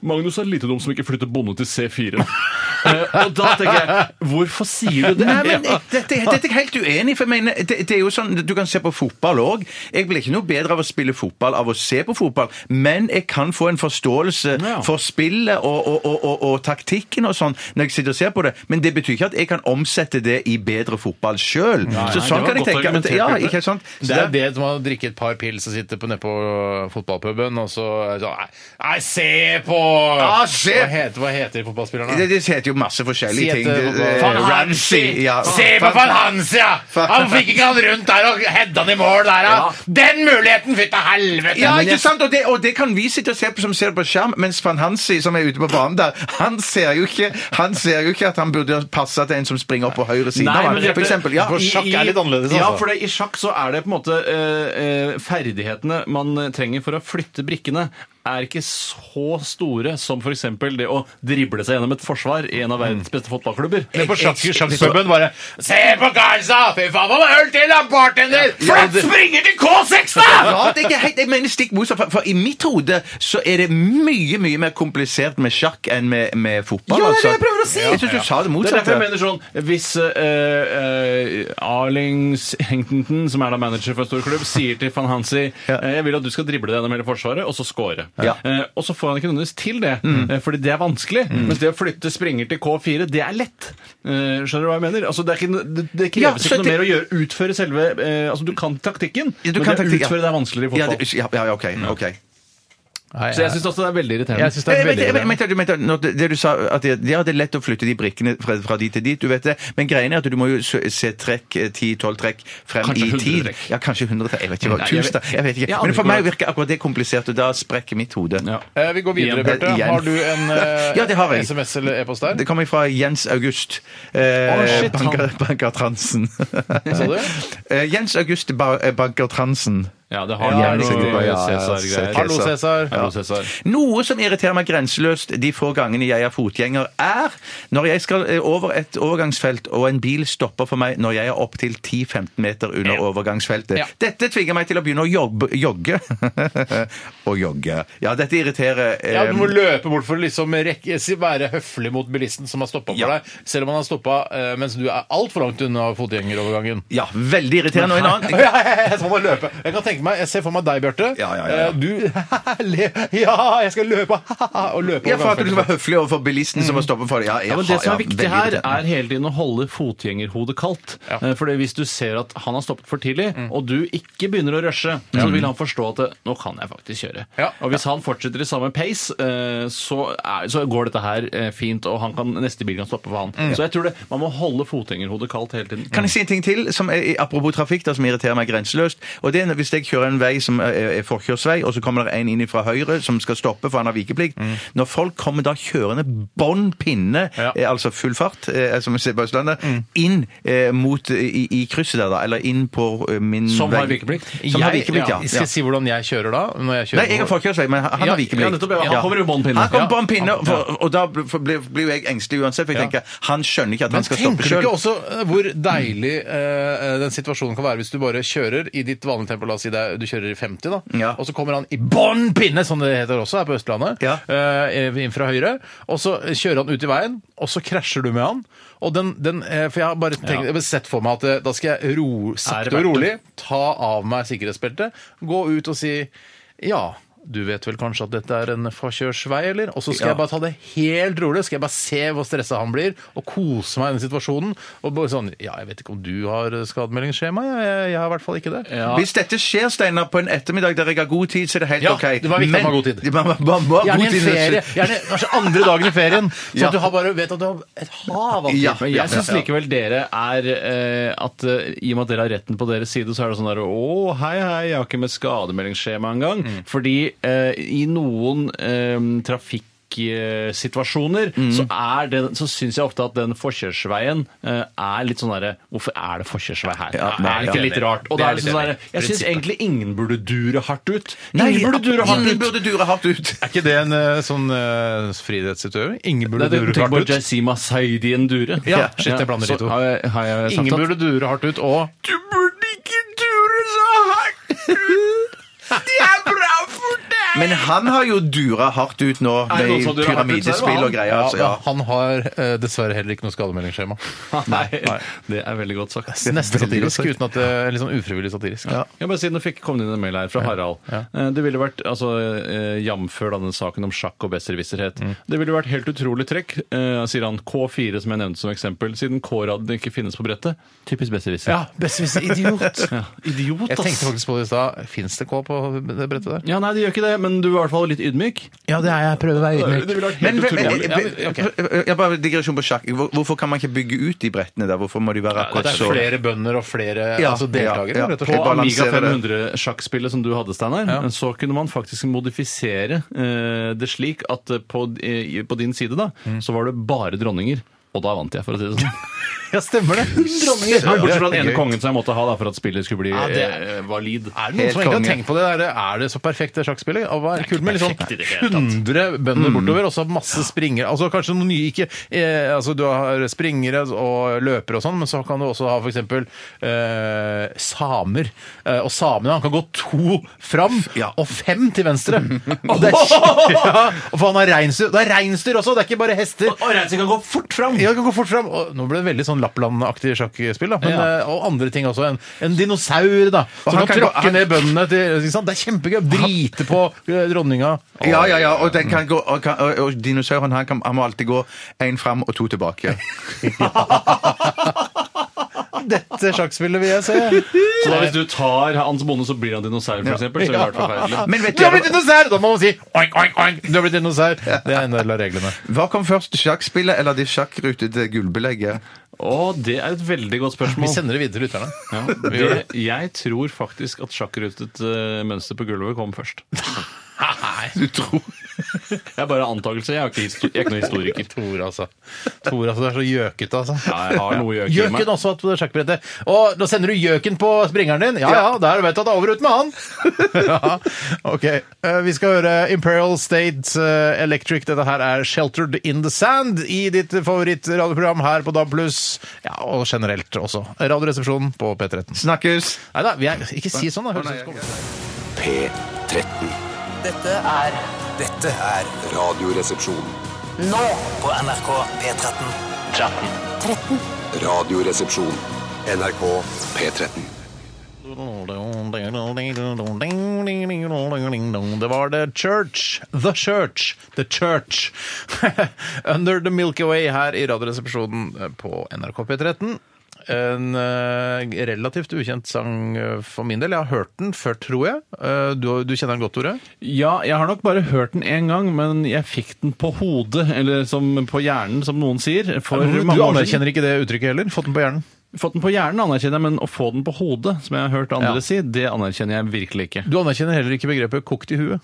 Magnus er lite dum som ikke flytter bonde til C4. Eh, og da tenker jeg, hvorfor sier du det? Nei, men jeg- dette, dette er jeg helt uenig i. For jeg mener, det, det er jo sånn, Du kan se på fotball òg. Jeg blir ikke noe bedre av å spille fotball av å se på fotball, men jeg kan få en forståelse Ja. for spillet og, og, og, og, og taktikken og sånn når jeg sitter og ser på det. Men det betyr ikke at jeg kan omsette det i bedre fotball sjøl. nei, Så det sånn var kan jeg godt tenke. at- argumentert, Ja, Bjarte. ikke sant? Så Det er det- det som å drikke et par pils og sitte på nedpå fotballpuben, og så er det sånn Nei, nei, se på! Ja, Ah, se! Hva heter, hva heter fotballspillerne? det, det heter jo masse forskjellige Si ting. etter- Det- Van eh, Hansi! ja. Se på van Hansi, ja! Han fikk ikke han rundt der og hedda han i mål der, ja! Den muligheten, fytta helvete! Ja, ikke sant? Og det, og det kan vi sitte og se på som ser det på skjerm, mens Van Hansi, som er ute på banen der, han ser jo ikke, han ser jo ikke at han burde passe til en som springer opp på høyre siden av Nei, ham, men for Bjarte, eksempel. Ja. For sjakk er litt annerledes, Ja, altså. for det, i sjakk så er det på en måte eh, eh, ferdighetene man trenger for å flytte brikkene. er ikke så store som f.eks. det å drible seg gjennom et forsvar i en av verdens Mm. beste fotballklubber. Men på sjakk- sjakkpuben bare Se på Garza! Fy faen, hva øl til, da, bartender! Flott springer til K6, da! Ja, det er ikke helt, jeg mener stikk motsatt, for, for i mitt hode så er det mye mye mer komplisert med sjakk enn med, med fotball. Ja, det er det altså. jeg prøver å si! Jeg syns du sa det Det er derfor motsatte. jeg mener sånn Hvis eh, eh, Arlings Hengtington, som er da manager for en stor klubb, sier til van Hansi Ja. eh, Jeg vil at du skal drible deg gjennom hele Forsvaret og så score. Ja. Mm. Eh, og så får han ikke nødvendigvis til det, eh, fordi det er vanskelig. Mens det å flytte springer til K4, det er lett. Eh, skjønner du hva jeg mener? Altså, det, er ikke, no- det, det Ja, kreves så ikke noe det- mer å gjøre. Utføre selve eh, Altså, du kan taktikken, Ja, du men kan det å taktikk, ja. utføre det er vanskeligere i Ja, fotball. det, ja, ja, OK. ok. så jeg syns også det er veldig irriterende. Jeg synes det er veldig Jeg mente- jeg mente- når det, det du sa, at det, ja, det er lett å flytte de brikkene fra, fra dit til dit, du vet det. Men greien er at du må jo se se trekk, eh, 10-12 trekk, frem Kanskje i 100 tid. trekk. Ja, kanskje 100 trekk. Jeg vet ikke hva. Nei, jeg Tusen vet- takk. Jeg vet Jeg ikke. aner Men for ikke meg hva- virker akkurat det komplisert, og da sprekker mitt hode. Ja. Eh, Vi går videre, Igjen. Bjarte. Igjen. Har du en eh, Ja, det har jeg. SMS eller e-post der? Det kommer fra Jens August. Eh, shit, han- banker, banker Transen. Sa du? Eh, Jens August ba eh, Banker Transen. Ja, det har Ja, ja, riktig. noe Ja, ja, Cæsar-greier. ok, Hallo, så- Cæsar. Hallo, Cæsar. Noe som irriterer meg grenseløst de få gangene jeg er fotgjenger, er når jeg skal eh, over et overgangsfelt og en bil stopper for meg når jeg er opptil 10-15 meter under overgangsfeltet. Ja. Dette tvinger meg til å begynne å jobbe, jogge. Å jogge. Ja, dette irriterer eh, Ja, Du må løpe bort for å liksom rekke, si- være høflig mot bilisten som har stoppa for Ja. deg, selv om han har stoppa mens du er altfor langt unna fotgjengerovergangen. ja, veldig irriterende. Og en annen Ja, ja, ja, så må man løpe. Jeg kan tenke meg, jeg ser for meg deg, Bjarte. Ja, ja, ja, ja. Eh, Du le, Ja, jeg skal løpe! Og løpe Ja, for at du skal overgangsfeltet. være høflig overfor bilisten som har stoppet for deg. Ja, jeg Mm. Ja, men har- Det som ja, er viktig veldig her, irriterende. er hele tiden å holde fotgjengerhodet kaldt. Ja. Eh, Fordi Hvis du ser at han har stoppet for tidlig, Mm. og du ikke begynner å rushe, så vil han forstå at eh, 'nå kan jeg faktisk kjøre'. Ja. Og Hvis han fortsetter i samme pace, eh, så, er, så går dette her eh, fint, og han kan, neste bil kan stoppe for han. Så jeg tror det, man må holde fotgjengerhodet kaldt hele tiden. Mm. Kan jeg si en ting til, som er, apropos trafikk, da, som irriterer meg grenseløst? Og det er når- Hvis jeg kjører en vei som er er forkjørsvei, og så kommer det en inn fra høyre som skal stoppe, for han har vikeplikt. Når folk kommer da kjørende bånn pinne, Ja. eh, altså full fart, eh, som vi ser på Østlandet, inn eh, mot, eh, i, i krysset der, da, eller inn på eh, min Som vei. har vikeplikt? Som har Jeg- vikeplikt, ja. Skal ja. jeg si hvordan jeg kjører da? Når jeg kjører Nei, jeg har forkjørsvei, men han han har Ja, vikeplikt. ja, nettopp, ja. Han kommer i bånn pinne. Han kommer Ja. bånn pinne, for- og da blir- blir blir jo jeg engstelig uansett, for jeg tenker, han skjønner ikke at han Men skal stoppe tenker du sjøl. ikke også eh, hvor deilig eh, den situasjonen kan være hvis du bare kjører i ditt vanlige tempo, la oss si det, er- du kjører i 50 da, Ja. og så kommer han i bånn pinne, som det heter også her på Østlandet, Ja. eh, inn fra høyre, og så kjører han ut i veien, og så krasjer du med han, og den, den eh, for jeg har bare tenkt, jeg har sett for meg at eh, da skal jeg ro, Er det sakte verdt og rolig ta av meg sikkerhetsbeltet, gå ut og si ja, du vet vel kanskje at dette er en forkjørsvei, eller? Og så skal jeg bare ta det helt rolig, skal jeg bare se hvor stressa han blir, og kose meg i den situasjonen. Og bare sånn, ja, jeg vet ikke om du har skademeldingsskjema, jeg, jeg, jeg har i hvert fall ikke det. Ja. Hvis dette skjer, Steinar, på en ettermiddag der jeg har god tid, så er det helt Ja, OK. det var viktig at man har god tid. Man, man, man, man, Gjerne i god en tid. ferie, gjerne kanskje andre dagen i ferien, sånn Ja. at du har bare vet at du har et hav av tid. Ja, Men jeg syns ja. likevel dere er eh, at eh, i og med at dere har retten på deres side, så er det sånn der Å, hei, hei, jeg har ikke med skademeldingsskjema engang. Fordi eh, i noen eh, trafikksituasjoner, så, er det, så syns jeg ofte at den forkjørsveien eh, er litt sånn derre Hvorfor er det forkjørsvei her? Ja, nei, er det ikke ja. litt rart? Og Det da er er det litt sånn enig. derre Jeg syns egentlig ingen burde dure hardt ut. Nei, Ingen burde dure hardt ingen ut. burde dure hardt ut. Er ikke det en eh, sånn eh, frihetsutøver? Ingen Nei, burde det- dure Tenk på hardt ut. Jazima Saidien Dure. Ja, shit, jeg blander de så to. Har jeg, har jeg sagt Ingen at- burde dure hardt ut, og... Du burde ikke dure så hardt ut. Det er bra for deg! Men han har jo dura hardt ut nå, det noen som durer hardt ut, med så er det pyramidespill han. og greier. altså, Ja, ja. men Han har eh, dessverre heller ikke noe skademeldingsskjema. Nei, det er veldig godt sagt. Nesten satirisk, uten at det er litt sånn ufrivillig satirisk. Jeg bare siden det fikk komme inn en mail her fra Harald. Eh, Det ville vært, altså, eh, Jamfør denne saken om sjakk og besserwisserhet. Det ville vært helt utrolig trekk, eh, sier han. K4 som jeg nevnte som eksempel. Siden K-raden ikke finnes på brettet. Typisk besserwisser. Ja, bestevis idiot. Ja, Idiot, Jeg tenkte ass! faktisk på det i stad. Fins det K på det brettet der? Ja, nei, det gjør ikke det, men du er i hvert fall litt ydmyk. Ja, det er jeg. Prøver å være Det ville vært Men, eh, helt men, men, utrolig. Ja, men, men, ok. jeg bare digresjon på sjakk. Hvor- Hvorfor kan man ikke bygge ut de brettene der? Hvorfor må de være Det akkurat er så flere bønder og flere Ja, altså deltakere, ja, ja. rett og På slett. Jeg Amiga balanserer det. 500-sjakkspillet som du hadde, Steinar, Ja. så kunne man faktisk Mm. modifisere eh, det slik at eh, på, eh, på din side da, så var det bare dronninger. Og da vant jeg, for å si det sånn. Ja, stemmer det. Dronninger! Søren, Bortsett fra den det er ene gøy. kongen som jeg måtte ha da, for at spillet skulle bli Ja, det er- eh, valid. Er det noen som egentlig har konge. tenkt på det? Der? Er det så perfekt det sjakkspillet? Og hva er Det er kult med ikke liksom perfekt i det hele tatt. 100 bønder bortover, og så masse springere. Altså kanskje noen nye ikke eh, Altså du har springere og løpere og sånn, men så kan du også ha for eksempel eh, samer. Eh, og samene, han kan gå to fram og fem til venstre. og det er, ja, og for han har reinsdyr. Det er reinsdyr også, det er ikke bare hester. Og Reinsdal kan gå fort fram! Ja, det kan gå fort fram. Og, nå ble det veldig sånn Lappland-aktig sjakkspill, da. Men, Ja. eh, og andre ting også. En, en dinosaur, da. Som han kan, kan gå- tråkke han- ned bøndene til ikke sant? Det er kjempegøy. Drite på eh, dronninga. Ja, ja, ja, og, den kan gå, og, kan, og, og dinosauren han, kan, han må alltid gå én fram og to tilbake. Dette sjakkspillet vil jeg se. Så da hvis du tar Hans Bonde, så blir han dinosaur, for eksempel? Så ville det vært forferdelig. Men vet Du har blitt dere, dinosaur! Da må man si oink, oink, oink. Du har blitt dinosaur. Det er en del av reglene. Hva kom først, sjakkspillet eller det sjakkrutete gullbelegget? Å, det er et veldig godt Vi spørsmål. sender det videre til lytterne. Ja, Vi gjør det, jeg tror faktisk at sjakkrutet eh, mønster på gulvet kom først. Du tror Jeg er bare antakelse, jeg er ikke, histo- jeg er ikke noen historiker. Tor, altså. Tor, altså. Du er så gjøkete, altså. Ja, jeg har noe gjøk i meg. Gjøken også hatt på sjakkbrettet. Og da sender du gjøken på springeren din. Ja, ja, der vet du at det er over ut med han. ja, ok. Eh, Vi skal høre Imperial State eh, Electric. Dette her er Sheltered in the Sand i ditt favorittradioprogram her på DAB+. Ja, og generelt også. Radioresepsjonen på P13. Snakkes! Nei da, vi er, ikke si sånn da. Høres ut som- P13. Dette er Dette er Radioresepsjon. nå på NRK P13. Radioresepsjon. NRK P13. Det var The Church. The Church. The Church. Under the Milky Way her i Radioresepsjonen eh, på NRK P13. En eh, relativt ukjent sang eh, for min del. Jeg har hørt den før, tror jeg. Eh, du, du kjenner den godt, Tore? Ja, jeg har nok bare hørt den én gang, men jeg fikk den på hodet, eller som, på hjernen, som noen sier. For Du mange år siden. anerkjenner ikke det uttrykket heller? Fått den på hjernen? Fått den på hjernen, anerkjenner jeg, men å få den på hodet, som jeg har hørt andre Ja. si, det anerkjenner jeg virkelig ikke. Du anerkjenner heller ikke begrepet 'kokt i huet'?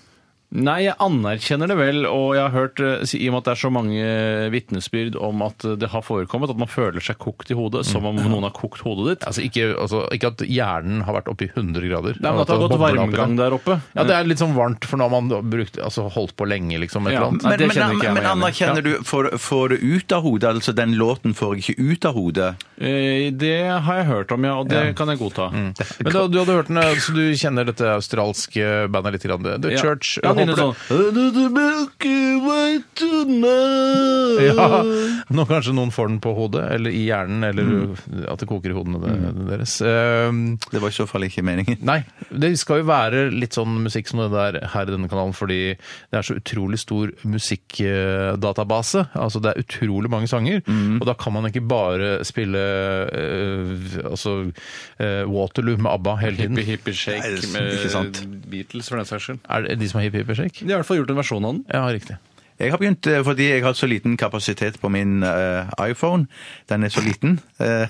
Nei, jeg anerkjenner det vel, og jeg har hørt, eh, i og med at det er så mange eh, vitnesbyrd om at eh, det har forekommet, at man føler seg kokt i hodet, som om Mm. noen har kokt hodet ditt. Altså ikke, altså ikke at hjernen har vært oppe i 100 grader. Altså, Nei, men at det har Og gått bobler opp i det. varmgang der oppe. Ja, det er litt sånn varmt, for nå har man brukt, altså, holdt på lenge, liksom, et Ja. eller annet. Nei, Men, det men, kjenner ikke jeg men meg igjen i. anerkjenner du får, får det ut av hodet? Altså, den låten får jeg ikke ut av hodet. Eh, Det har jeg hørt om, ja, og det kan jeg godta. Men da, du hadde hørt den, eh, så du kjenner dette australske bandet litt? Grann. The Ja. sånn. Church? Ja, jeg Nina håper det- Ja, sånn nå kanskje noen får den på hodet, eller i hjernen, eller Mm. at det koker i hodene de- deres. Ehm, Det var i så fall ikke meningen. Nei, det skal jo være litt sånn musikk som det der her i denne kanalen, fordi det er så utrolig stor musikkdatabase. Altså det er utrolig mange sanger, Mm. og da kan man ikke bare spille eh, altså, eh, Waterloo med ABBA hele tiden. Hippie hippie shake ikke sant. med Beatles, for den saks skyld. Er det de som har hippie hippie shake? De har i hvert fall gjort en versjon av den. Ja, riktig. Jeg har begynt eh, fordi jeg har så liten kapasitet på min eh, iPhone. Den er så liten, eh,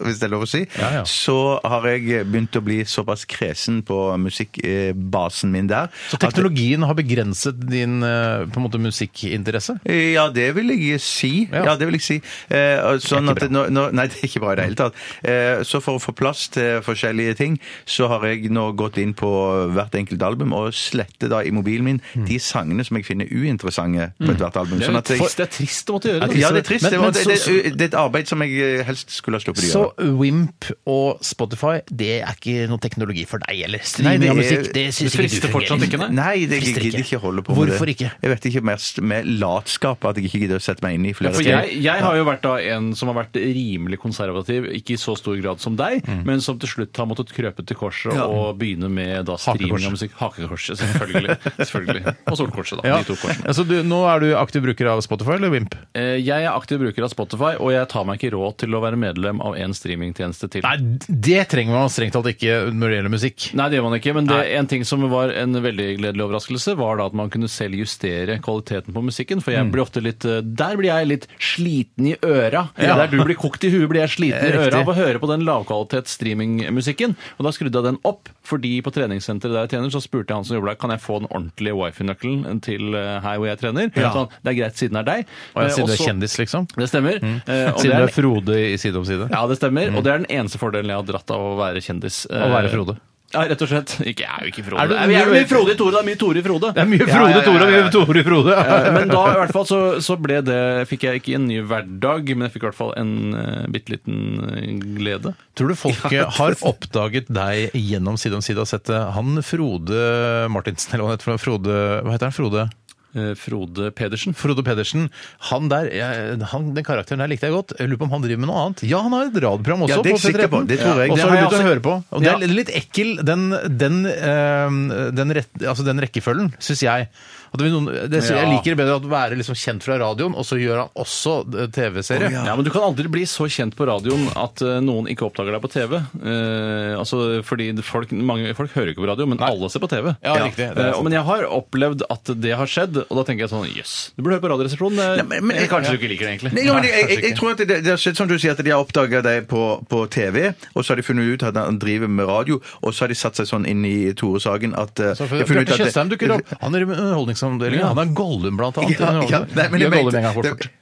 hvis det er lov å si. Ja, ja. Så har jeg begynt å bli såpass kresen på musikkbasen min der. Så at- teknologien har begrenset din eh, på en måte musikkinteresse? Ja, det vil jeg si. Ja. Ja, det vil jeg si. Eh, sånn at nå, nå, nei, det er ikke bra i det hele tatt. Eh, så for å få plass til forskjellige ting, så har jeg nå gått inn på hvert enkelt album og sletter da i mobilen min de sangene som jeg finner uinteressante på ethvert album. Det er, Sånn at jeg, trist, det er trist å måtte gjøre det. ja, det er trist. Men- det, men var- det, så- det, det er et arbeid som jeg eh, helst skulle ha sluppet å Så gjøre. Wimp og Spotify, det er ikke noe teknologi for deg, eller? Nei, det Streaming er- av musikk, det syns ikke du frister fungerer. fortsatt ikke, nei? Nei, det, jeg Frister gidder ikke holde på med Hvorfor det. ikke? Jeg vet ikke mest med latskap at jeg ikke gidder å sette meg inn i flere For ting. jeg, jeg har jo vært da en som har vært rimelig konservativ, ikke i så stor grad som deg, men som til slutt har måttet krøpe til korset og begynne med da streaming av musikk. Hakekorset, selvfølgelig. selvfølgelig. Og solkorset, da. Ja. De to korsene. Altså, du, nå er du aktiv bruker av Spotify eller Wimp? Eh, Jeg er aktiv bruker av Spotify, og jeg tar meg ikke råd til å være medlem av en streamingtjeneste til. Nei, det trenger man strengt tatt ikke når det gjelder musikk. Nei, det gjør man ikke, men det, en ting som var en veldig gledelig overraskelse, var da at man kunne selv justere kvaliteten på musikken, for jeg Mm. blir ofte litt eh, Der blir jeg litt sliten i øra. Ja. Der du blir kokt i huet, blir jeg sliten i Riktig. øra av å høre på den lavkvalitets streamingmusikken. Og da skrudde jeg den opp, fordi på treningssenteret der jeg trener, så spurte jeg han som jobber der, kan jeg få den ordentlige wifi-nøkkelen til eh, her hvor jeg trener? mener. Ja. Sånn, det er greit siden det er deg. Og jeg Eh, sier du og er så- kjendis, liksom. Det stemmer. Eh, og Siden det er du er Frode i Side om side. ja, det stemmer. Og det er den eneste fordelen jeg har dratt av å være kjendis. Mm. eh, Å være Frode. Ja, rett og slett. Ikke, jeg er jo ikke Frode. Er du- Nei, vi er jo mye Frode i Tore. Det er mye Tore i Frode. Det er mye Frode, Tore, mye Tore Frode. Eh, Men da i hvert fall så, så ble det Fikk jeg ikke en ny hverdag, men jeg fikk i hvert fall en uh, bitte liten eh, glede. Tror du folk har oppdaget deg gjennom Side om side og sett det? Han Frode Martinsen, eller hva han heter for Frode, hva heter han? Frode? Eh, Frode Pedersen. Frode Pedersen. Han der, jeg, han, den karakteren der likte jeg godt. Jeg lurer på om han driver med noe annet. Ja, han har et radioprogram også. Ja, det er på jeg P13. sikker på. Det tror jeg. Og Det så har har jeg jeg begynt å også- høre på. Og det er litt ekkel, den, den, eh, den, rett, altså den rekkefølgen, syns jeg. At det, blir noen, det, Ja. Jeg liker det bedre å være liksom kjent fra radioen, og så gjør han også eh, TV-serie. Ja. men Du kan aldri bli så kjent på radioen at eh, noen ikke oppdager deg på TV. Eh, altså, fordi folk, mange, folk hører ikke på radio, men alle ser på TV. Ja, riktig. Det er Eh, sant. men jeg har opplevd at det har skjedd, og da tenker jeg sånn Jøss, du burde høre på Radioresepsjonen. Nei, det- men- men- Eller kanskje du ikke liker det, egentlig. Nei, jo, men jeg, jeg, jeg tror at det, det har skjedd som du sier, at de har oppdaga deg på, på TV, og så har de funnet ut at han driver med radio, og så har de satt seg sånn inn i Tore Sagen at eh, Så de har for- Bjarte funnet ut at det- Tjøstheim dukker opp. Han er i Underholdningsavdelingen. Han er Gollum, blant annet. Ja, ja, nei, men jeg Gjør Gollum en gang mente- fort, det- fort.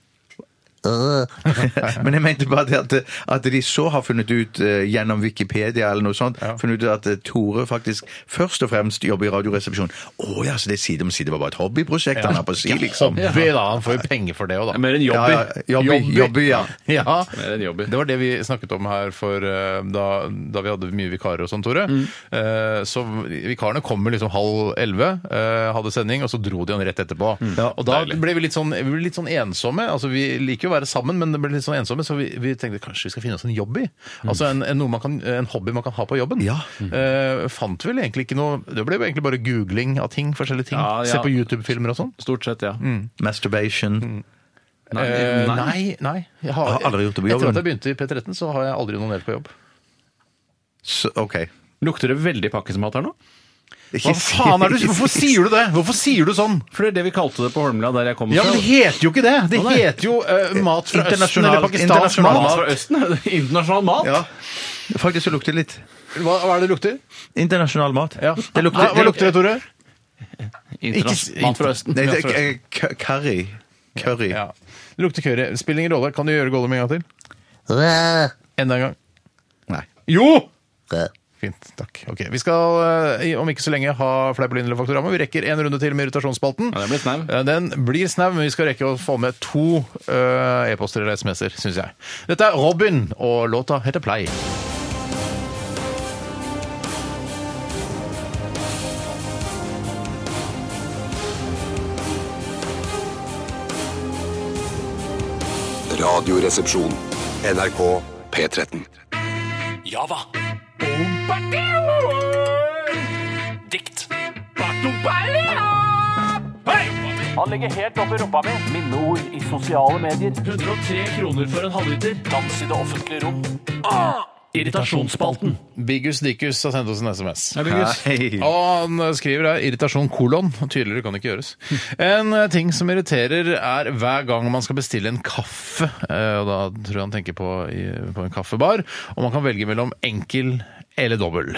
men jeg mente bare det at, at de så har funnet ut eh, gjennom Wikipedia eller noe sånt, funnet ut at eh, Tore faktisk først og fremst jobber i Radioresepsjonen. Å ja, så det er side om side var bare et hobbyprosjekt han har på si, liksom. Hobby, da. Han får jo penger for det òg, da. Mer en Ja, jobby. ja, jobby, jobby, ja. Ja. Mer en jobby. Det var det vi snakket om her for eh, da, da vi hadde mye vikarer og sånn, Tore. Mm. Eh, Så vikarene kommer liksom halv elleve, eh, hadde sending, og så dro de han rett etterpå. Mm. og da deilig. ble vi litt sånn, vi ble litt sånn ensomme. Altså, vi liker jo å være sammen, men det ble litt sånn ensomme, så vi, vi tenkte kanskje vi skal finne oss en jobb i. Altså en, en, noe man kan, en hobby man kan ha på jobben. Mm. Ja. Eh, fant vel egentlig ikke noe Det ble jo egentlig bare googling av ting, forskjellige ting. Ja, ja. Se på YouTube-filmer og sånn. Stort sett, ja. Mm, Masturbation. Nei, Mm. Eh, nei. nei, nei. Jeg Jeg har aldri gjort det på jobben. Etter at jeg begynte i P13, så har jeg aldri onanert på jobb. Så, OK. Lukter det veldig pakkesmat her nå? Ikke si- sier du det? Hvorfor sier du sånn? For det er det vi kalte det på Holmlia, der jeg kommer Ja, men Det fra. heter jo ikke det! Det Å, nei. heter jo eh, mat fra Østen Internasjonal- eller pakistansk internasjonal mat. Mat fra Østen? er det Internasjonal mat? Ja. Faktisk er så lukter det litt. Hva, hva er det det lukter? Internasjonal mat. Det lukter, hva, hva lukter det, Tore? Internas- Ikke- mat fra Østen. Nei, det, er- k- curry. Curry. Ja. Det lukter curry. Spiller ingen rolle. Kan du gjøre Gollum en gang til? Enda en gang. Nei. Jo! Fint. Takk. Ok, Vi skal eh, i- om ikke så lenge ha Fleipolin eller Faktorama. Vi rekker en runde til med irritasjonsspalten. Ja, den blir snau. Eh, Den blir snau, men vi skal rekke å få med to eh, e-poster eller SMS-er, syns jeg. Dette er Robin, og låta heter Plei. Radioresepsjon. NRK P13. Java. Dikt. Han legger helt opp i rumpa mi. Minneord i sosiale medier. 103 kroner for en halvliter. Dans i det offentlige rom. Ah! Irritasjonsspalten. Biggus Dickus har sendt oss en SMS. Hei. Og han skriver her irritasjon kolon. Tydeligere kan det ikke gjøres. En eh, ting som irriterer, er hver gang man skal bestille en kaffe. eh, Og da tror jeg han tenker på, i- på en kaffebar. Og man kan velge mellom enkel eller dobbel.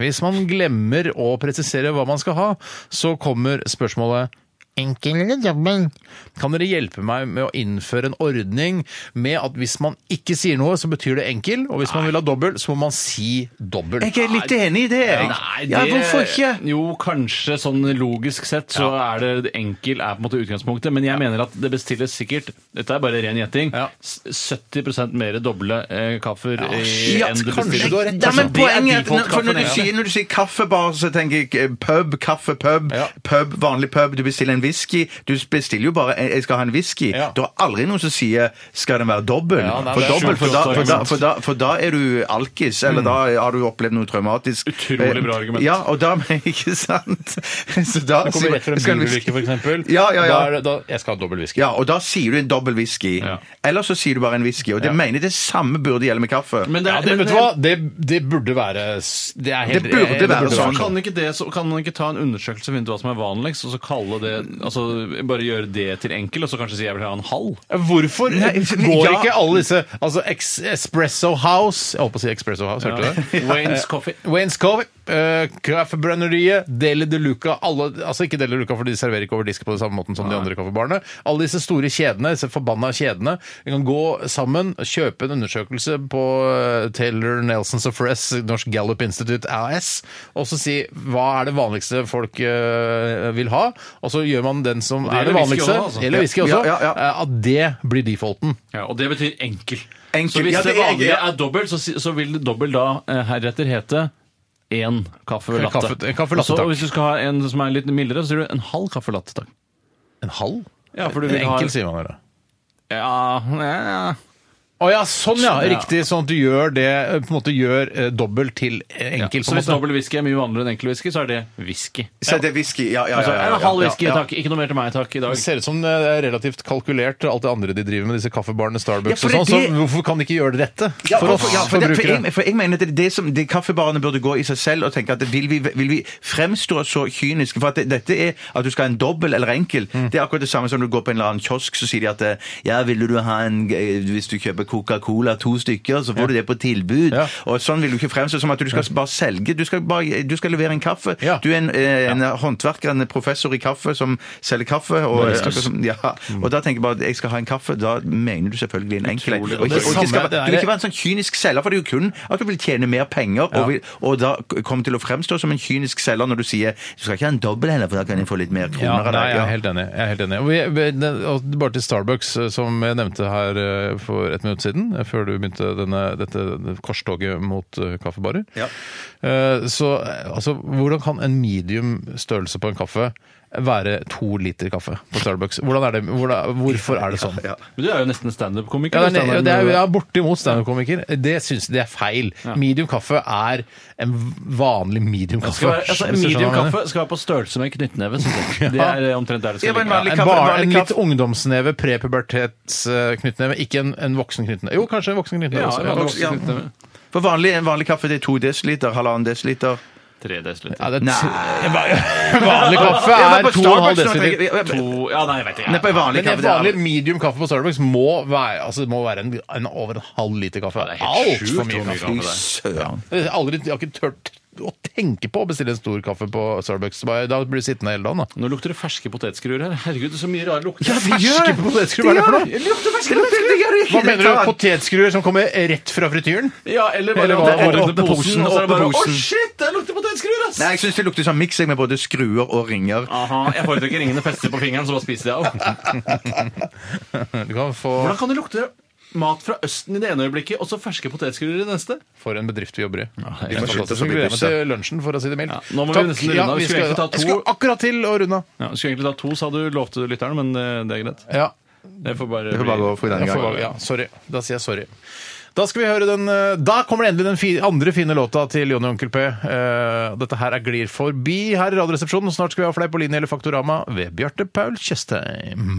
Hvis man glemmer å presisere hva man skal ha, så kommer spørsmålet Enkel eller dobbel? Kan dere hjelpe meg med å innføre en ordning med at hvis man ikke sier noe, så betyr det enkel, og hvis man vil ha dobbel, så må man si dobbel? Jeg er litt enig i det. jeg. Nei, det, Ja, hvorfor ikke? Jo, kanskje sånn logisk sett så er det enkel er på en måte utgangspunktet, men jeg mener at det bestilles sikkert Dette er bare ren gjetting. Ja. s- 70 mer doble eh, kaffer eh, shit, enn det kanskje bestilles. du har rett, Ja, men Det er poenget er at når, default-kaffen, for når, du ja. sier, når du sier kaffebar, så tenker jeg eh, pub, kaffe, pub, Ja. pub, vanlig pub. Du bestiller en whisky. Du bestiller jo bare eh, 'jeg skal ha en whisky'. Ja. Det er aldri noen som sier 'skal den være dobbel'? Ja, nei, for, det er dobbel for, sjukt da, godt for, da, argument. for, da, for da er du alkis, eller Mm. da har du opplevd noe traumatisk. Eh, Utrolig bra argument. Ja, og da Ikke sant? Så da Det kommer sier- rett fra skal en en whisky- bilwhisky, for eksempel. Ja, ja, ja. Da er det, da, jeg skal ha dobbel whisky. Ja, og da sier du en dobbel whisky. Ja. Eller så sier du bare en whisky. Og det Ja. mener jeg det samme burde gjelde med kaffe. Men Ja, men- det, vet du hva? Det, det burde være s- Det, er helt, Det burde være Så sånn. kan, ikke det, så kan man ikke ta en undersøkelse og finne ut hva som er vanligst, og så kalle det altså, bare gjøre det til enkel, og så kanskje si jeg vil ha en halv? Hvorfor Nei, går ja. ikke alle disse Altså Ex Espresso House Jeg holdt på å si Espresso House, hørte du det? Wayne's Coffee. Wayne's Cove, uh, Kaffebrenneriet, Deli de Luca alle, Altså ikke Deli de Luca, for de serverer ikke over disk på den samme måten som de andre kaffebarene. Alle disse store kjedene, disse forbanna kjedene. Vi kan gå sammen, kjøpe en undersøkelse på eh, Taylor Nelson Suffress, Norsk Gallup Institute AS, og så si hva er det vanligste folk eh, vil ha, og så gjør man den som gjelder er det whisky vanligste. også, altså. Eller whisky også. Ja, ja, ja. eh, At det blir defaulten. Ja, og det betyr enkel. Enkel, Så hvis ja, det, det er- vanlige ja. er dobbelt, så, si- så vil dobbelt da eh, heretter hete én kaffe latte. Kaffe- en kaffe latte, Og så- takk. og hvis du skal ha en som er litt mildere, så sier du en halv kaffe latte, takk. En halv? Ja, for du En vil ha- enkel, sier man da. Ja, ja, ja. Å ja, sånn ja! Sånn, ja. Riktig. Sånn at du gjør det eh, på en måte gjør eh, dobbelt til eh, Ja, enkel. Så på en hvis måte. dobbel whisky er mye vanligere enn enkel whisky, så er det whisky. Så det er whisky. Ja, ja, ja. Altså, ja, ja, en halv whisky, ja, ja. takk. Ikke noe mer til meg, takk, i Det dag. ser ut som eh, det er relativt kalkulert, alt det andre de driver med, disse kaffebarene, Ja, Starbucks for det og sånn. er det- Så hvorfor kan de ikke gjøre det rette Ja, for oss ja, for, det, for, forbrukere? jeg, for jeg mener at det er det som det kaffebarene burde gå i seg selv og tenke at vil vi, vil vi fremstå så kyniske? For at det, dette er at du skal ha en dobbel eller enkel. Mm. Det er akkurat det samme som du går på en eller annen kiosk, så sier de at eh, ja, ville du ha en eh, Hvis du kjøper Coca-Cola to stykker, så får du det på tilbud. Ja. Og sånn vil du ikke fremstå som at du skal bare selge. Du skal, bare, du skal levere en kaffe. Ja. Du er en, eh, en håndverker, en professor i kaffe som selger kaffe. Og, eh, Baristas. akkurat som- ja. Mm. og da tenker jeg bare at jeg skal ha en kaffe. Da mener du selvfølgelig en enkel en. Og Utrolig godt. ikke- og Det ikke samme- skal være- det er- Du vil ikke være en sånn kynisk selger, for det er jo kun at du vil tjene mer penger, og, vil, og da kommer til å fremstå som en kynisk selger når du sier du skal ikke ha en dobbel heller, for da kan jeg få litt mer Ja, kroner nei, av deg. jeg Ja. er helt enig. Jeg er helt enig. Og vi, vi, den- og bare til Starbucks, eh, som jeg nevnte her eh, for et minutt siden, eh, før du begynte denne, dette korstoget mot eh, kaffebarer. Ja. Eh, Så eh, altså, hvordan kan en medium størrelse på en kaffe være to liter kaffe på Starbucks? Hvordan er det, hvordan, hvorfor er det sånn? Ja. Men du er jo nesten standup-komiker. Ja, du, det er, Steinar. det er, ja, bortimot standup-komiker. Det syns jeg er feil. Medium kaffe er en vanlig medium Det skal kaffe. være, altså, Hvis du skjønner hva jeg medium mener. kaffe skal være på størrelse med en knyttneve. synes jeg. Det er eh, omtrent der det Ja, skal men ligge. vanlig En, kaffe- bar, vanlig en litt kaffe- ungdomsneve, prepubertetsknyttneve, ikke en, en voksen knyttneve. Jo, kanskje en voksen knyttneve Ja, også. vanlig Ja, voksen ja. knyttneve. For vanlig, en vanlig kaffe det er to desiliter, halvannen desiliter. Tre desiliter. Ja, det er Nei. vanlig kaffe Ja, men er på 2,5 Starbucks nå tenker desiliter. jeg- ja, men- To Oh, Ja, nei, jeg vet ikke. Nei, på vanlig Men en kaffe det vanlig er medium kaffe på Starbucks må være, altså, det må være en, en over en halv liter kaffe. det er helt Alt sjukt for hvor mye mye kaffe. kaffe det er. Søren. Jeg har aldri, jeg har ikke tørt å tenke på å bestille en stor kaffe på Starbucks. Bare- Da blir du sittende hele dagen, da. Nå lukter det ferske potetskruer her. Herregud, det er så mye rare lukter. Ja, det gjør Ferske potetskruer, hva er det for noe? Det lukter ferske potetskruer, det gjør det ikke. Hva mener du? Potetskruer som kommer rett fra frityren? Ja, eller bare Eller åpne bare posen, åpne posen, og så er det bare åpne Å, posen. shit, der lukter potetskruer, ass! Nei, jeg syns det lukter sånn miks jeg, med både skruer og ringer. Aha, jeg foretrekker ringene fester på fingeren, så bare spiser jeg av. Du kan få Hvordan kan det lukte mat fra Østen i det ene øyeblikket, og så ferske potetskruer i det neste? for en bedrift vi jobber i. jeg Jeg må gleder slutte å bli meg tipset. til lunsjen, for å si det mildt. Ja, nå må vi Takk. nesten runde av. Vi skulle egentlig ta to- Jeg skulle akkurat til å runde av. Ja, du skulle egentlig ta to, sa du, lovte lytterne, men eh, det er greit. Ja. Det får bare, Det får bare gå for denne Jeg gangen. får, ja, sorry. Da sier jeg sorry. Da skal vi høre den eh, Da kommer det endelig den fi, andre fine låta til Jonny og Onkel P. Eh, Dette her er Glir forbi her i Radioresepsjonen. Snart skal vi ha Fleipolini eller Faktorama ved Bjarte Paul Tjøstheim.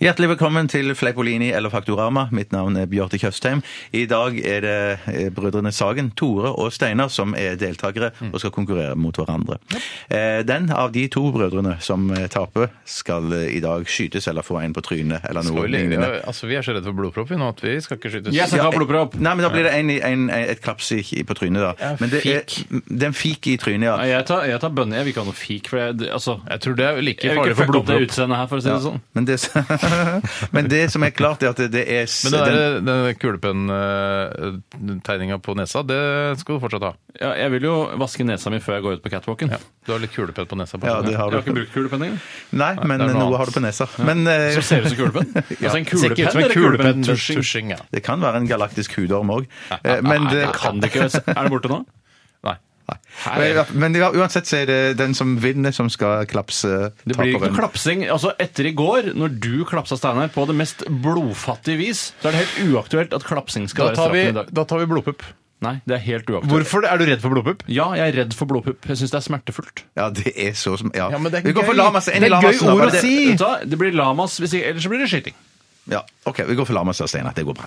Hjertelig velkommen til Fleipolini eller Faktorama. Mitt navn er Bjarte Tjøstheim. I dag er det eh, brødrene Sagen, Tore og Steinar, som er deltakere Mm. og skal konkurrere mot hverandre. Eh, Den av de to brødrene som eh, taper, skal eh, i dag skytes eller få en på trynet eller noe lignende. Altså, vi er så redde for blodpropp vi nå at vi skal ikke skytes. Jeg skal ikke ha blodpropp. Nei, men da blir det en, i- en, eh, et klaps i, i- på trynet, da. Ja, Men det er, fik. det er en fik i trynet, Nei, ja. jeg tar, jeg tar bønne. Jeg vil ikke ha noe fik. For jeg, det- altså, Jeg tror det er like jeg vil farlig ikke for fucke opp det blodpropp. utseendet her, for å si det sånn. Men det, men det som er klart, er at det er s- Men den, den- der- den kulepenn-tegninga på nesa, det skal du fortsatt ha. Ja, jeg vil jo vaske nesa mi før jeg går ut på catwalken. Du har litt kulepenn på nesa. På Ja, det har Jeg har ikke du. brukt kulepenn engang. Nei, men det er noe noe annet. har du på nesa. Men eh, Som ser ut som kulepenn. Altså en Ser ikke ut kulepenn som en eller kulepenn kulepenn-tusjing. tusjing. Ja. Eh, Det kan være en galaktisk hudorm òg. Nei, det kan det ikke. Er det borte nå? Nei. Men, men ja, uansett så er det den som vinner, som skal klapse Det blir ikke taperen. klapsing. Altså, etter i går, når du klapsa Steinar på det mest blodfattige vis, så er det helt uaktuelt at klapsing skal Da være tar vi, straffen i dag. da tar vi blodpupp. Nei, det er helt uaktuelt. Hvorfor? Er du redd for blodpupp? Ja, jeg er redd for blodpupp. Jeg syns det er smertefullt. Ja, det er så som Ja, Ja, men det er Vi går for gøy. Lamas. En Det er i Lamas gøy nå, ord å bare. si. Vet du hva? Det blir lamas, hvis ikke, ellers så blir det skyting. Ja, ok, vi går for Lamas og Steinar. Det går bra.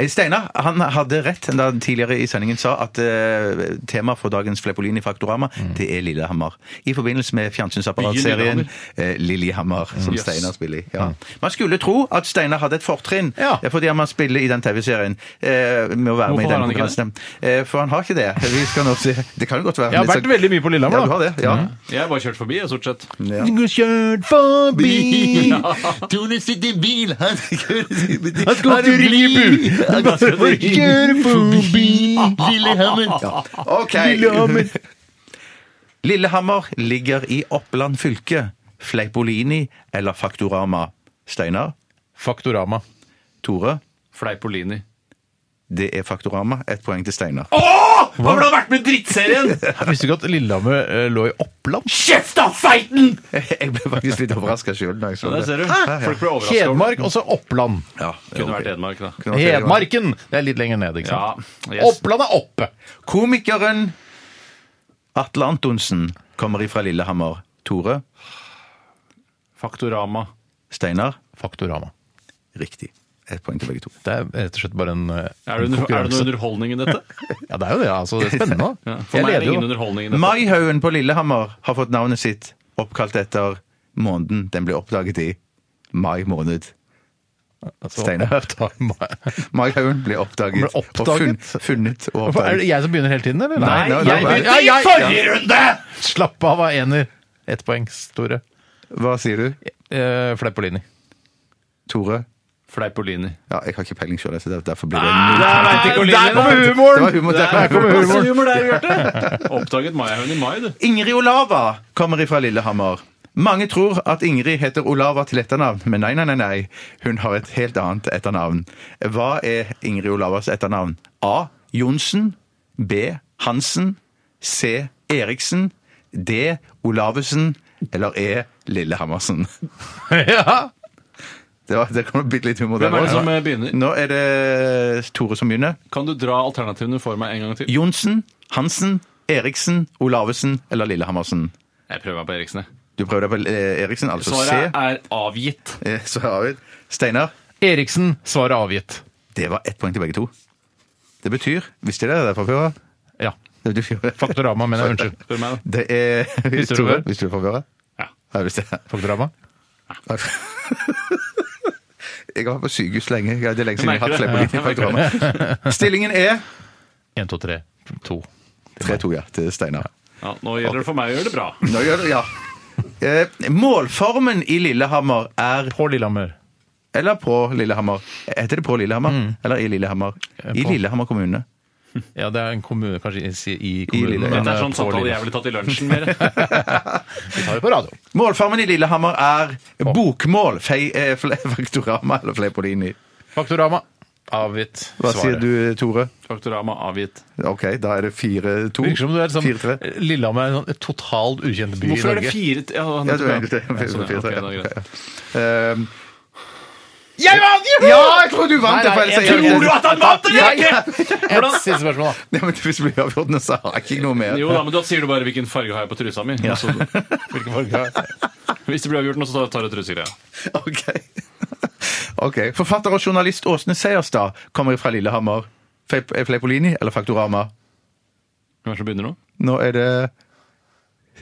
Eh, Steinar han hadde rett da han tidligere i sendingen sa at eh, temaet for dagens Fleipolini Faktorama, Mm. det er Lillehammer. I forbindelse med Byen fjernsynsapparatserien eh, Lillehammer, Mm. som Yes. Steinar spiller i. Ja. Man skulle tro at Steinar hadde et fortrinn Ja. eh, fordi han spiller i den TV-serien eh, med å være med i Hvorfor har den han ikke konkurransen. Eh, for han har ikke det. Vi skal nå se. Det kan jo godt være. sånn- Jeg har vært veldig mye på Ja, du Lillehammer, da. Mm. har det. Ja. Jeg har bare kjørt forbi, jeg, stort sett. Ja. Kjørt forbi Tone sitter i bil, han Han skal til Ribu! Han skal til OK. Lillehammer ligger i Oppland fylke. Fleipolini eller Faktorama? Steinar? Faktorama. Tore? Fleipolini. Det er Faktorama. Ett poeng til Steinar. Hva ville vært med drittserien?! Jeg visste ikke at Lillehammer eh, lå i Oppland. Kjeft da, feiten! Jeg ble faktisk litt overraska sjøl da jeg så Der det. ser du. Folk blir overraska. Hedmark, og så Oppland. Ja, Kunne vært Hedmark, da. ok. Hedmarken! Det er litt lenger ned, ikke Ja, sant? yes. Oppland er oppe! Komikeren Atle Antonsen kommer ifra Lillehammer. Tore? Faktorama. Steinar? Faktorama. Riktig. Ett poeng til begge to. Det er rett og slett bare en eh, Er det, under, er det noe konkurranse. underholdning i dette? Ja, det er jo det. altså. Det er spennende. da. Ja. For Jeg meg er leder det jo. ingen underholdning i dette. Maihaugen på Lillehammer har fått navnet sitt oppkalt etter måneden den ble oppdaget i. Mai måned. Altså, Steinar. ta meg. Maihaugen ble oppdaget, Ble oppdaget? og funnet, funnet og Hvorfor, Er det oppdaget. jeg som begynner hele tiden, eller? Nei, nei, nei, nei. Ja, jeg- runde! Slapp av, hva er ener. Ett poeng, Tore. Hva sier du, Eh, Fleipolini. Tore? Fleipolini. Ja, jeg har ikke peiling sjøl, så derfor blir det null. Der kommer Det var humoren! humor, der Der kom kommer humor. humoren. Oppdaget Maihaugen i mai, du. Ingrid Olava kommer ifra Lillehammer. Mange tror at Ingrid heter Olava til etternavn, men nei, nei, nei, nei. Hun har et helt annet etternavn. Hva er Ingrid Olavas etternavn? A. Johnsen. B. Hansen. C. Eriksen. D. Olavesen. Eller E. Lillehammersen. Ja. Det, var, det kom bitte litt humor der Hvem er det også. som eh, begynner? Nå er det Tore som begynner. Kan du dra alternativene for meg en gang til? Johnsen, Hansen, Eriksen, Olavesen eller Lillehammersen. Jeg prøver meg på Eriksen. jeg. Du prøver deg på eh, Eriksen, altså Svaret C. er avgitt. Eh, Så har vi Steinar, Eriksen, svaret avgitt. det var ett poeng til begge to. Det betyr Visste dere det fra før av? Ja. Det betyr- Faktorama, mener jeg. Unnskyld. Spør meg, da. Det er Visste du Tore, det? Visste du det fra før av? Ja. Ja, visste jeg. Faktorama? Jeg har vært på sykehus lenge. Jeg- Det er lenge siden jeg har hatt Jeg merker det. flepolitikk. Stillingen er 1, 2, 3, 2. 3-2, ja, til Steinar. Ja, nå gjelder det for meg å gjøre det bra. Nå gjør det, ja. Eh, Målformen i Lillehammer er På Lillehammer. Eller på Lillehammer. Heter det på Lillehammer? Eller i Lillehammer? I På. Lillehammer kommune. Ja, det er en kommune, kanskje i, i kommunen. Lille- men, Dette er eh, sånn på samtale jeg Lillehammer. ville tatt i lunsjen mer. Vi tar det på radio. Målformen i Lillehammer er bokmål. Fei, eh, fle, faktorama eller Fleipolini. Faktorama, avgitt. Hva svaret. sier du, Tore? Faktorama avgitt. Ok, da er det 4-2. Virker som du er sånn, 4-3. Lillehammer er en sånn totalt ukjent by Hvorfor er i det Norge. fire ja, Ja, nettopp, du er egentlig Ja, sånn, ja. Ok, da er det greit. det. Um, Jeg vant! Juhu! ja, jeg tror du vant! det, for ellers er jeg- Tror du at han vant eller ikke?! Et siste spørsmål, da. Ja, men Hvis det blir avgjort nå, så har jeg ikke noe mer. Jo da, men da sier du bare hvilken farge har jeg på trusa mi. og så- Hvilken farge har jeg? Hvis det blir avgjort nå, så tar du trusegreia. Ok. ok. Forfatter og journalist Åsne Seierstad kommer fra Lillehammer. Fle- Fleipolini eller Faktorama? Hvem er det som begynner nå? Nå er det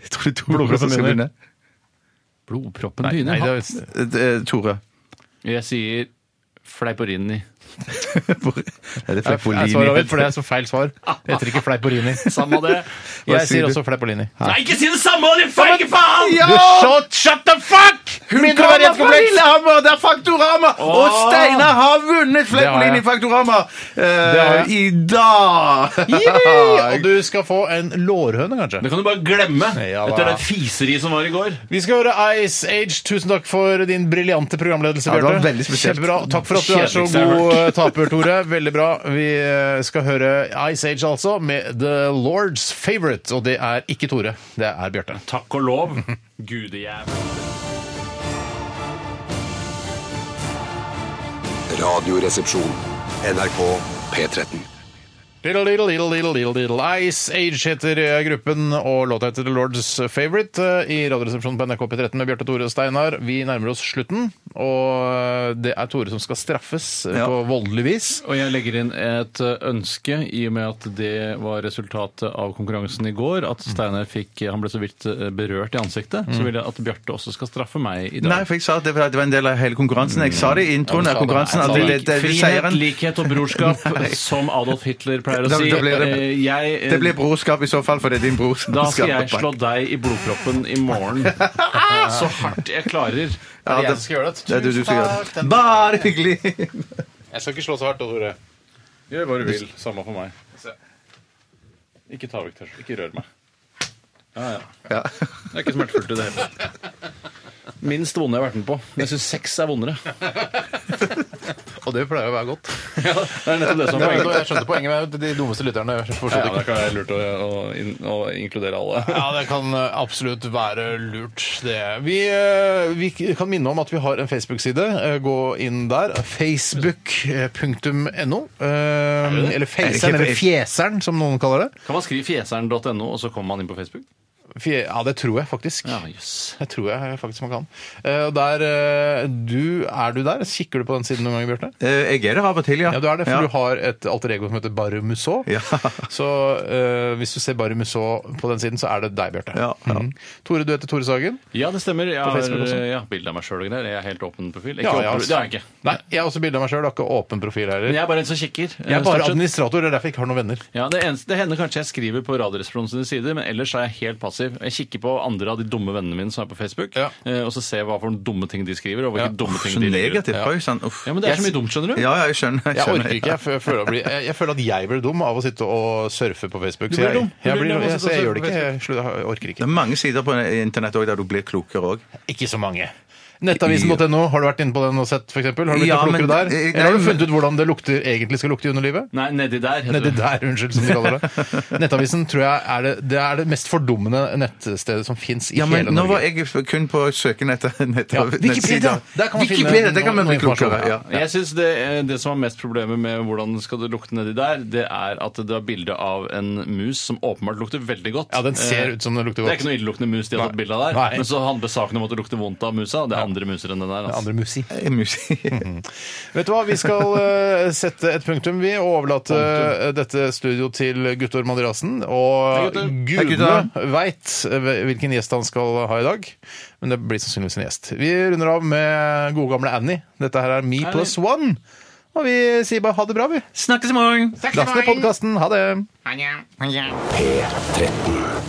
Jeg tror det er Tore Blodproppen som skal begynner. begynne. Blodproppen Nei, begynner. det Han- er, Eh, Tore. Jeg sier Fleiporini. Hvor- Er det jeg, jeg svarer Fleipolini? avgitt, for det er så feil svar. Jeg heter ikke Fleipolini. Samme det. Jeg sier sier du? også Fleipolini. Nei, ikke si det samme! Det feige faen! Ja! shot, shut the fuck! Hun kommer fra Lillehammer, det er Faktorama! Og Steinar har vunnet Fleipolini jeg. Faktorama har eh, jeg. i dag! Og du skal få en lårhøne, Det kanskje. kan du bare glemme Ja da. etter det fiseriet som var i går. Vi skal høre Ice Age. Tusen takk for din briljante programledelse, Ja, det var Bjarte. veldig spesielt. Kjempebra. Takk for for at du er så kjedeligste jeg har god eh, taper, Tore. Veldig bra. Vi eh, skal høre Ice Age, altså, med The Lord's Favorite. Og det er ikke Tore, det er Bjarte. Takk og lov, gudejævel. Radioresepsjon. NRK P13. Diddle, diddle, diddle, diddle, diddle, diddle. Ice Age heter eh, gruppen, og låta heter The Lord's Favorite eh, i Radioresepsjonen på NRK P13 med Bjarte Tore og Steinar. Vi nærmer oss slutten, og eh, det er Tore som skal straffes eh, Ja. på voldelig vis. Og jeg legger inn et ø, ønske, i og med at det var resultatet av konkurransen i går, at Steinar fikk Han ble så vidt ø, berørt i ansiktet. Så vil jeg at Bjarte også skal straffe meg i dag. Mm. Nei, for jeg sa at det var det var en del av hele konkurransen. Jeg sa det i introen Mm. av Ja, du sa det. konkurransen. Nei, at jeg sa det, det, det, Frihet, seieren, likhet og brorskap, som Adolf Hitler pleier å Da- si. da blir det- Eh, Jeg, eh, det blir brorskap i så fall, for det er din bror som da skal jeg skaper- slå deg i blodproppen i morgen. Så hardt jeg klarer. Ja, det, skal gjøre det. det er du, du skal gjøre det. Bare hyggelig! Jeg skal ikke slå så hardt, Tore. Gjør hva du vil. Samme for meg. Ikke ta vekk tørselen. Ikke rør meg. Ja, ja. Det er ikke smertefullt i det hele tatt. Minst vonde jeg har vært med på. Men jeg syns seks er vondere. Og det pleier å være godt. Det er nettopp det som er Jeg poenget. skjønte poenget med de dummeste lytterne. Ja, det kan være lurt å, å, inn- å inkludere alle. Ja, det kan eh, absolutt være lurt, det. Vi, eh, vi k- kan minne om at vi har en Facebook-side. Eh, Gå inn der. Facebook.no. eh, Eller Faceren, eller Fjeseren, som noen kaller det. Kan man skrive fjeseren.no, og så kommer man inn på Facebook? Fje ja, det tror jeg faktisk. Ja, jøss. Det tror jeg faktisk man kan. Eh, Og der eh, du, Er du der? Kikker du på den siden noen ganger, Bjarte? Eh, Jeg er der av og til, ja. Ja, du er det, for Ja. du har et alter ego som heter Barre Musso. Ja. Så eh, hvis du ser Barre Musso på den siden, så er det deg, Bjarte. Ja, ja. Mhm. Tore, du heter Tore Sagen. Ja, det stemmer. Jeg har Facebook også? ja, bilde av meg sjøl og greier. Jeg er helt åpen profil. Ikke Ja, åpen, ja, profil. Det er jeg ikke. Nei, jeg har også bilde av meg sjøl. Har ikke åpen profil heller. Men jeg er bare en som kikker. jeg eh, er bare stort sett. administrator, det er derfor jeg ikke har noen venner. Ja, det, eneste, det hender kanskje jeg skriver på Radioresepsjonen sine sider, men ellers er jeg helt passiv. Jeg kikker på andre av de dumme vennene mine som er på Facebook, Ja. eh, og så ser jeg hva for noen dumme ting de skriver, og hvilke dumme ting Så de legger ut. negativt. Oi sann. Uff. Ja, men det er så mye dumt, skjønner du. Ja, ja, jeg skjønner. Jeg, Jeg skjønner. orker ikke. Jeg fø- føler, å bli, jeg, jeg føler at jeg blir dum av å sitte og surfe på Facebook. Du blir så jeg, dum. Du blir Jeg, blir, dum av å sitte jeg, og så jeg surfe gjør det på ikke. Jeg slutter- jeg orker Det ikke. er mange sider på internett også der du blir klokere òg. Ikke så mange. Nettavisen.no, har du vært inne på den og sett, f.eks.? Har du blitt Ja, noe men- klokere der? eh, nei, Eller har men- du funnet ut hvordan det lukter, egentlig skal lukte i underlivet? Nei, nedi der. heter Nedi det. der, unnskyld, som de kaller det. Nettavisen tror jeg er det, det, er det mest fordummende nettstedet som fins i Ja, men hele nå var Norge. jeg kun på søken etter nett, Ja, Wikipedia! nettsider. Der kan man finne Wikipedia, der kan man noe- bli noe informasjon, klokere. Ja. Jeg synes det, eh, det som er mest problemet med hvordan skal det lukte nedi der, det er at det er bilde av en mus som åpenbart lukter veldig godt. Ja, den ser Eh, ut som den lukter Det er godt. ikke noe illeluktende mus de har Nei. tatt bilde av der. Nei. Men så handler saken om at det lukter vondt av musa. og Det er andre muser enn den der. Altså. Andre musi. Eh, Musikk. Vet du hva, vi skal eh, sette et punktum, vi, og overlate eh, dette studio til Guttorm Andreassen. Og Hei, Guttorm. gudene veit hvilken gjest han skal ha i dag. Men det blir sannsynligvis en gjest. Vi runder av med gode gamle Annie. Dette her er Me plus one. Og vi sier bare ha det bra, vi. Snakkes i morgen! Last ned podkasten. Ha det.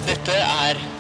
Dette er